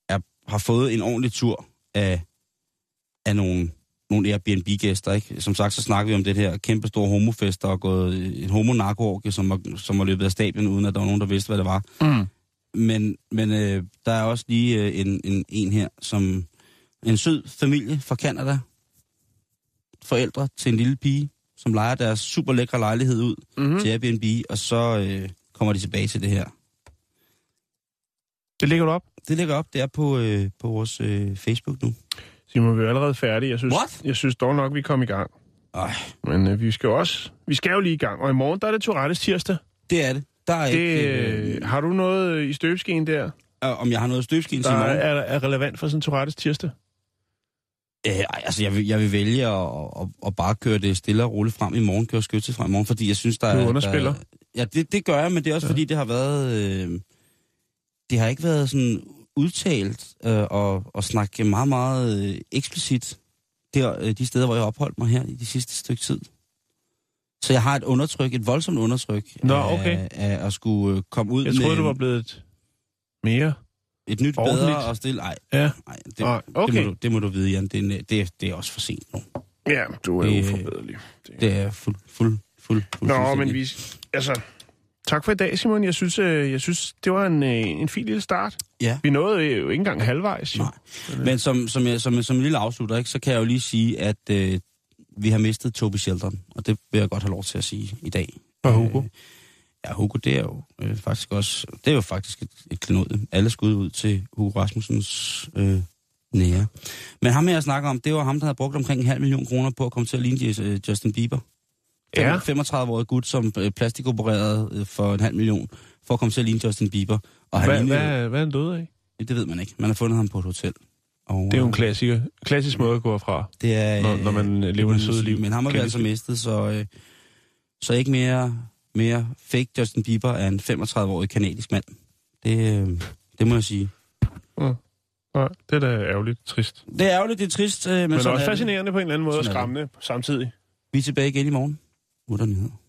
D: er, har fået en ordentlig tur af, af nogle, nogle Airbnb-gæster. Ikke? Som sagt, så snakker vi om det her kæmpe store homofest, der er gået øh, et homo som var, som var løbet af stablen, uden at der var nogen, der vidste, hvad det var.
E: Mm.
D: Men, men øh, der er også lige øh, en, en, en her, som en sød familie fra Kanada. Forældre til en lille pige, som lejer deres super lækre lejlighed ud
E: Mm-hmm.
D: til Airbnb, og så øh, kommer de tilbage til det her.
E: Det ligger du op.
D: Det ligger op, det er på, øh, på vores øh, Facebook nu.
E: Simon, vi er allerede færdige. Jeg synes,
D: What?
E: jeg synes dog nok, vi kom i gang.
D: Ej,
E: Men øh, vi skal jo også... Vi skal jo lige i gang. Og i morgen, der er det Tourettes tirsdag.
D: det er det. Der er det...
E: Det,
D: ikke, øh,
E: øh, har du noget øh, i støbeskeen der,
D: øh, om jeg har noget støbskin til
E: der
D: i morgen.
E: er, er relevant for sådan en Tourettes tirsdag?
D: Øh, ej, altså, jeg vil, jeg vil vælge at, at, at bare køre det stille og roligt frem i morgen, køre skytset frem i morgen, fordi jeg synes, der
E: Du
D: er...
E: underspiller.
D: Der, ja, det, det gør jeg, men det er også, ja. fordi det har været... Øh, det har ikke været sådan udtalt øh, og, og snakke meget, meget øh, eksplicit der, øh, de steder, hvor jeg har opholdt mig her i de sidste stykke tid. Så jeg har et undertryk, et voldsomt undertryk
E: Nå,
D: af,
E: okay.
D: af at skulle øh, komme ud
E: Jeg troede,
D: med
E: du var blevet mere.
D: et nyt
E: ordentligt.
D: bedre og stille... Ej,
E: Ja.
D: ej det,
E: Ej,
D: det,
E: okay.
D: må du, det må du vide, Jan. Det, er en- det, er- det er også for sent nu.
E: Ja, du er
D: Det-
E: uforbederlig.
D: Det er fuld, fuld, fuld, fuld
E: Nå, men vi... Altså, tak for i dag, Simon. Jeg synes, øh, jeg synes det var en, øh, en fin lille start.
D: Ja.
E: Vi nåede øh, jo ikke engang halvvejs. jo.
D: Nej. Men som, som, jeg, som, som en lille afslutter, ikke, så kan jeg jo lige sige, at øh, vi har mistet Toby Shelton, og det vil jeg godt have lov til at sige i dag.
E: Og Hugo.
D: Øh, Ja, Hugo, det er jo øh, faktisk også... Det er jo faktisk et, et klenod. Alle skud ud til Hugo Rasmussens øh, nære. Men ham, jeg snakker om, det var ham, der havde brugt omkring en halv million kroner på at komme til at ligne Jes- øh, Justin Bieber.
E: Ja.
D: Ja. 35-årig gut, som øh, plastikopererede øh, for en halv million, for at komme til at ligne Justin Bieber. Og han
E: Hvad,
D: lignede-
E: hvad, hvad er han død af?
D: Det ved man ikke. Man har fundet ham på et hotel. Og,
E: Det er jo en
D: øh,
E: klassiker. klassisk måde at gå fra.
D: det er,
E: når- når man
D: det
E: lever
D: må
E: det
D: man
E: søde
D: sige.
E: liv.
D: Men ham har vi
E: Kan
D: altså
E: det-
D: mistet, så, øh, så ikke mere, mere fake Justin Bieber er en 35-årig kanadisk mand. Det, øh, det må jeg sige.
E: Mm. Nej, det er da ærgerligt trist. Men,
D: Det er ærgerligt, det er trist, øh, men,
E: Men
D: sådan
E: også
D: er det.
E: fascinerende på en eller anden måde og
D: Sådan er det.
E: skræmmende samtidig.
D: Vi er tilbage igen i morgen. Utter nyheder.